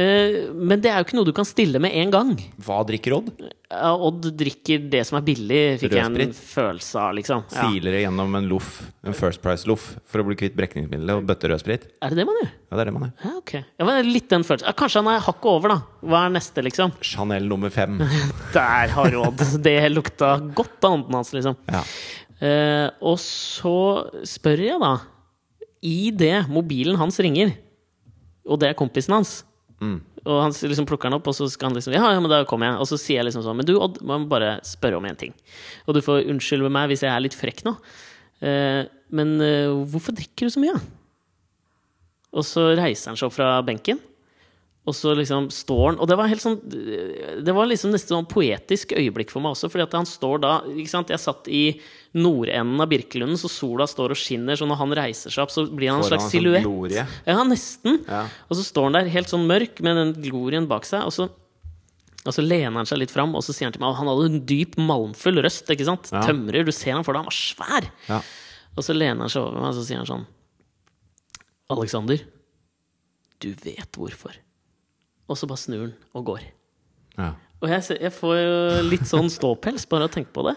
Speaker 2: Eh, men det er jo ikke noe du kan stille med en gang.
Speaker 1: Hva drikker Odd?
Speaker 2: Ja, Odd drikker det som er billig, fikk jeg en
Speaker 1: Rødsprit.
Speaker 2: følelse av, liksom. Ja.
Speaker 1: Siler det gjennom en loff, en First Price-loff, for å bli kvitt brekningsmiddelet og bøtter rød sprit?
Speaker 2: Er det det man gjør?
Speaker 1: Ja, det er det man er.
Speaker 2: Ja, ok. Ja, men litt den følelsen. Ja, kanskje han er hakket over, da. Hva er neste, liksom?
Speaker 1: Chanel nummer fem.
Speaker 2: Der har du Odd! Det lukta godt av ånden hans, liksom.
Speaker 1: Ja.
Speaker 2: Eh, og så spør jeg, da I det mobilen hans ringer, og det er kompisen hans
Speaker 1: Mm.
Speaker 2: Og han s- liksom plukker den opp, og så skal han liksom Ja, ja, men da kommer jeg. Og så sier jeg liksom sånn Men du, Odd, må jeg bare spørre om en ting. Og du får unnskylde meg hvis jeg er litt frekk nå. Eh, men eh, hvorfor drikker du så mye? Og så reiser han seg opp fra benken. Og så liksom står han Og det var helt sånn Det var liksom nesten sånn poetisk øyeblikk for meg også, fordi at han står da ikke sant? Jeg satt i nordenden av Birkelunden, så sola står og skinner, så når han reiser seg opp, så blir han en
Speaker 1: Får han
Speaker 2: slags
Speaker 1: en sånn
Speaker 2: silhuett.
Speaker 1: glorie?
Speaker 2: Ja, nesten.
Speaker 1: Ja.
Speaker 2: Og så står han der helt sånn mørk med den glorien bak seg, og så, og så lener han seg litt fram, og så sier han til meg at han hadde en dyp, malmfull røst, ikke sant?
Speaker 1: Ja.
Speaker 2: Tømrer, du ser han for deg, han var svær!
Speaker 1: Ja.
Speaker 2: Og så lener han seg over meg, og så sier han sånn Alexander, du vet hvorfor. Og så bare snur han og går.
Speaker 1: Ja.
Speaker 2: Og jeg, ser- jeg får jo litt sånn ståpels bare av å tenke på det.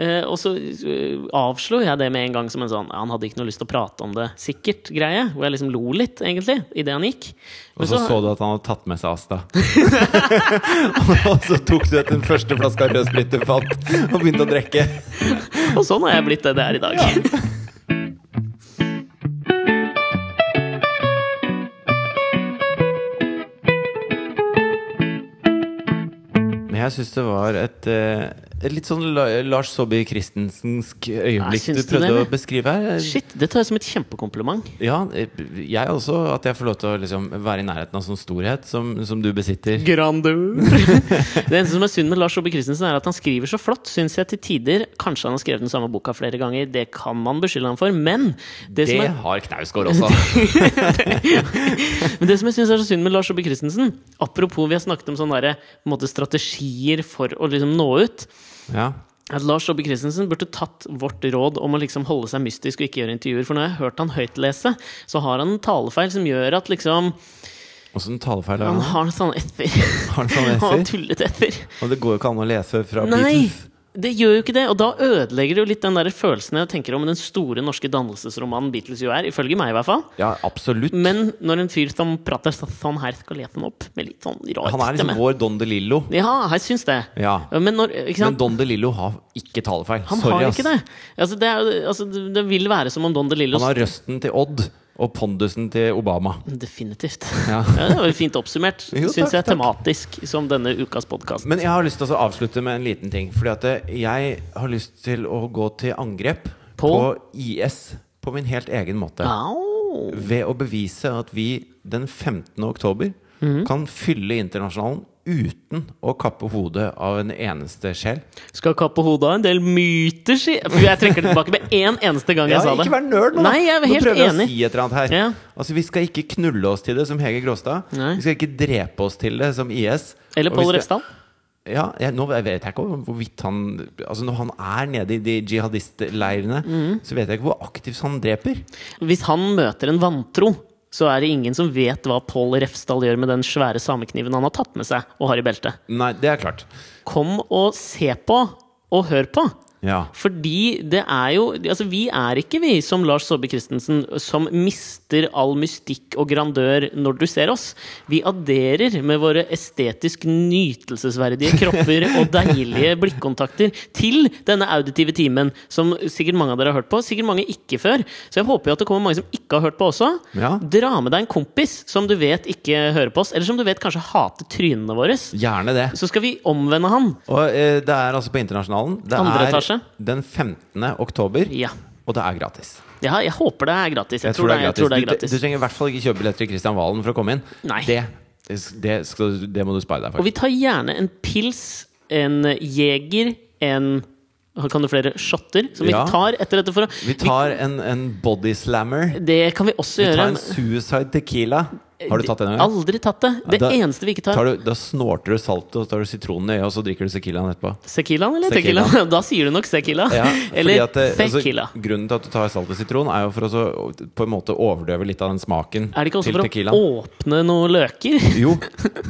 Speaker 2: Eh, og så eh, avslo jeg det med en gang som en sånn ja, Han hadde ikke noe lyst til å prate om det, sikkert-greie. Hvor jeg liksom lo litt, egentlig, idet han gikk. Men
Speaker 1: Og så så du at han hadde tatt med seg Asta. og så tok du den første flaska rød sprit du fant, og begynte å drikke.
Speaker 2: Og sånn har jeg blitt det det er i dag.
Speaker 1: Men jeg syns det var et, eh, et litt sånn La- Lars Saabye Christensensk øyeblikk
Speaker 2: Ja,
Speaker 1: du
Speaker 2: syns du
Speaker 1: prøvde
Speaker 2: det,
Speaker 1: å beskrive her.
Speaker 2: Shit, det tar jeg som et kjempekompliment.
Speaker 1: Ja, eh, jeg også. At jeg får lov til å liksom være i nærheten av sånn storhet som, som du besitter.
Speaker 2: Grandeur! det eneste som er synd med Lars Saabye Christensen, er at han skriver så flott, syns jeg til tider. Kanskje han har skrevet den samme boka flere ganger, det kan man beskylde ham for, men det,
Speaker 1: Det
Speaker 2: som er
Speaker 1: har Knausgård også.
Speaker 2: Men det som jeg synes er så synd med Lars Saabye Christensen Apropos vi har snakket om sånne der, på en måte, strategier for å liksom nå ut
Speaker 1: Ja.
Speaker 2: At Lars Saabye Christensen burde tatt vårt råd om å liksom holde seg mystisk og ikke gjøre intervjuer. For når jeg har hørt han høytlese, så har han en talefeil som gjør at liksom
Speaker 1: Åssen talefeil har
Speaker 2: Han
Speaker 1: han?
Speaker 2: har en sånn f-er.
Speaker 1: Har han sånn
Speaker 2: Han har
Speaker 1: esser?
Speaker 2: tullet f-er.
Speaker 1: Og det går jo ikke an å lese fra
Speaker 2: Nei!
Speaker 1: Beatles.
Speaker 2: Det gjør jo ikke det, og da ødelegger det jo litt den der følelsen jeg tenker om den store norske dannelsesromanen Beatles jo er, ifølge meg i hvert fall.
Speaker 1: Ja, absolutt.
Speaker 2: Men når en fyr som prater sånn her, skal lete den opp med litt sånn rar
Speaker 1: Han er liksom
Speaker 2: stemme.
Speaker 1: vår Don DeLillo.
Speaker 2: Ja, jeg syns det.
Speaker 1: Ja.
Speaker 2: Men når ikke
Speaker 1: Men
Speaker 2: sant?
Speaker 1: Don DeLillo har ikke talefeil.
Speaker 2: Han
Speaker 1: Sorry, ass.
Speaker 2: har ikke det. Altså, det, er, jo- altså, det det vil være som om Don DeLillo
Speaker 1: Han har røsten til Odd og pondusen til Obama.
Speaker 2: Definitivt.
Speaker 1: Ja.
Speaker 2: Ja, det var jo fint oppsummert,
Speaker 1: Jo,
Speaker 2: syns
Speaker 1: takk,
Speaker 2: jeg,
Speaker 1: takk.
Speaker 2: tematisk, som denne ukas podkast.
Speaker 1: Men jeg har lyst til å avslutte med en liten ting. Fordi at eh, jeg har lyst til å gå til angrep på,
Speaker 2: På?
Speaker 1: IS på min helt egen måte.
Speaker 2: Au!
Speaker 1: Ved å bevise at vi den 15. oktober
Speaker 2: Mhm.
Speaker 1: kan fylle internasjonalen uten å kappe hodet av en eneste sjel.
Speaker 2: Skal kappe hodet av en del myter, si! For Jeg trekker det tilbake med én eneste gang jeg
Speaker 1: Ja,
Speaker 2: sa det.
Speaker 1: ikke vær nerd nå! da.
Speaker 2: Nei, jeg er
Speaker 1: nå
Speaker 2: helt
Speaker 1: prøver jeg
Speaker 2: enig.
Speaker 1: å si et eller annet her.
Speaker 2: Ja.
Speaker 1: Altså, vi skal ikke knulle oss til det, som Hege Gråstad.
Speaker 2: Nei.
Speaker 1: Vi skal ikke drepe oss til det, som IS.
Speaker 2: Eller
Speaker 1: Og vi
Speaker 2: Pål
Speaker 1: skal-
Speaker 2: Refsdal.
Speaker 1: Ja, jeg, nå vet jeg ikke om hvorvidt han Altså Når han er nede i de jihadistleirene,
Speaker 2: Mhm.
Speaker 1: så vet jeg ikke hvor aktivt han dreper.
Speaker 2: Hvis han møter en vantro, så er det ingen som vet hva Pål Refsdal gjør med den svære samekniven han har tatt med seg og har i beltet.
Speaker 1: Nei, det er klart.
Speaker 2: Kom og se på, og hør på!
Speaker 1: Ja.
Speaker 2: Fordi det er jo Altså, vi er ikke vi, som Lars Saabye Christensen, som mister all mystikk og grandør når du ser oss. Vi aderer med våre estetisk nytelsesverdige kropper og deilige blikkontakter til denne auditive timen, som sikkert mange av dere har hørt på. Sikkert mange ikke før. Så jeg håper jo at det kommer mange som ikke har hørt på også.
Speaker 1: Ja.
Speaker 2: Dra med deg en kompis som du vet ikke hører på oss, eller som du vet kanskje hater trynene våre.
Speaker 1: Gjerne det.
Speaker 2: Så skal vi omvende han.
Speaker 1: Og eh, det er altså på Internasjonalen. Det
Speaker 2: Andre
Speaker 1: er
Speaker 2: etasje.
Speaker 1: den 15. oktober,
Speaker 2: Ja.
Speaker 1: og det er gratis.
Speaker 2: Ja, jeg håper det er gratis. Jeg, tror, det er, jeg tror det er gratis.
Speaker 1: Du, du trenger i hvert fall ikke kjøpe billetter til Kristian Valen for å komme inn.
Speaker 2: Nei.
Speaker 1: Det, det, skal, det må du spare deg
Speaker 2: Og
Speaker 1: for.
Speaker 2: vi tar gjerne en pils, en jeger, en Kan du flere shotter? Som vi
Speaker 1: Ja.
Speaker 2: tar etter dette for å
Speaker 1: Vi tar en, en body slammer.
Speaker 2: Vi- Det kan vi også
Speaker 1: Vi tar
Speaker 2: gjøre. eh,
Speaker 1: en suicide tequila. Har du tatt det noen gang?
Speaker 2: Aldri tatt det. Det
Speaker 1: da-
Speaker 2: eneste vi ikke tar,
Speaker 1: Tar du, da snorter du saltet, og så tar du sitronen i øyet, og så drikker du Sequilaen etterpå.
Speaker 2: Sequilaen eller
Speaker 1: Tequila.
Speaker 2: tequila? Da sier du nok Sequila.
Speaker 1: Ja,
Speaker 2: eller
Speaker 1: fordi at det- altså,
Speaker 2: Tequila.
Speaker 1: grunnen til at du tar salt og sitron, er jo for å så, på en måte overdøve litt av den smaken
Speaker 2: Er det ikke også
Speaker 1: til
Speaker 2: for
Speaker 1: tequilaen.
Speaker 2: å åpne noen løker?
Speaker 1: Jo,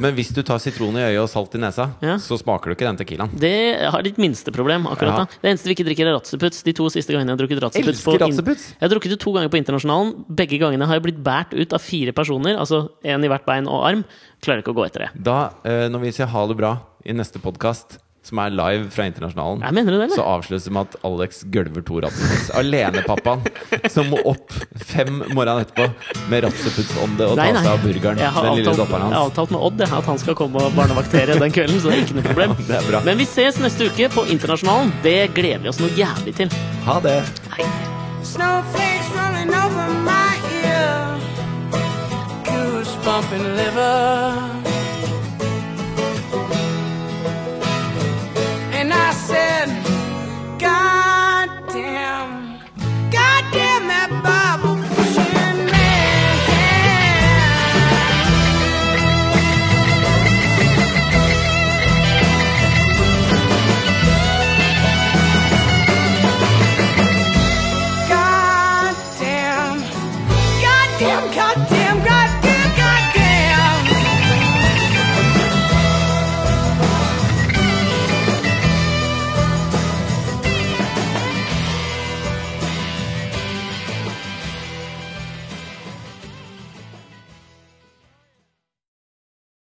Speaker 1: men hvis du tar sitron i øyet og salt i nesa,
Speaker 2: Ja.
Speaker 1: så smaker du ikke den tequilaen.
Speaker 2: Det har ditt minste problem akkurat
Speaker 1: Ja.
Speaker 2: da. Det eneste vi ikke drikker, er Ratzeputs. De to siste gangene jeg har drukket Ratzeputs
Speaker 1: Elsker
Speaker 2: på in-
Speaker 1: Ratzeputs.
Speaker 2: Jeg har drukket det to ganger på Internasjonalen. Begge gangene har jeg blitt båret ut av fire personer, altså én i hvert bein og arm. Klarer ikke å gå etter det.
Speaker 1: Da, eh, når vi sier ha det bra i neste podkast, som er live fra Internasjonalen,
Speaker 2: Jeg mener du det,
Speaker 1: så
Speaker 2: eller?
Speaker 1: avsluttes det med at Alex gølver to ratseputs. Alenepappaen som må opp fem morgenen etterpå med ratseputsånde og ta seg av burgeren.
Speaker 2: Jeg har,
Speaker 1: Den lille
Speaker 2: avtalt,
Speaker 1: dopperen
Speaker 2: jeg har
Speaker 1: hans.
Speaker 2: avtalt med Odd jeg, at han skal komme og barnevaktere den kvelden, så det er ikke noe problem.
Speaker 1: Det er bra.
Speaker 2: Men vi ses neste uke på Internasjonalen. Det gleder vi oss noe jævlig til.
Speaker 1: Ha det!
Speaker 2: Hei.
Speaker 3: Snowflakes rolling over my ear. Goose bumping liver.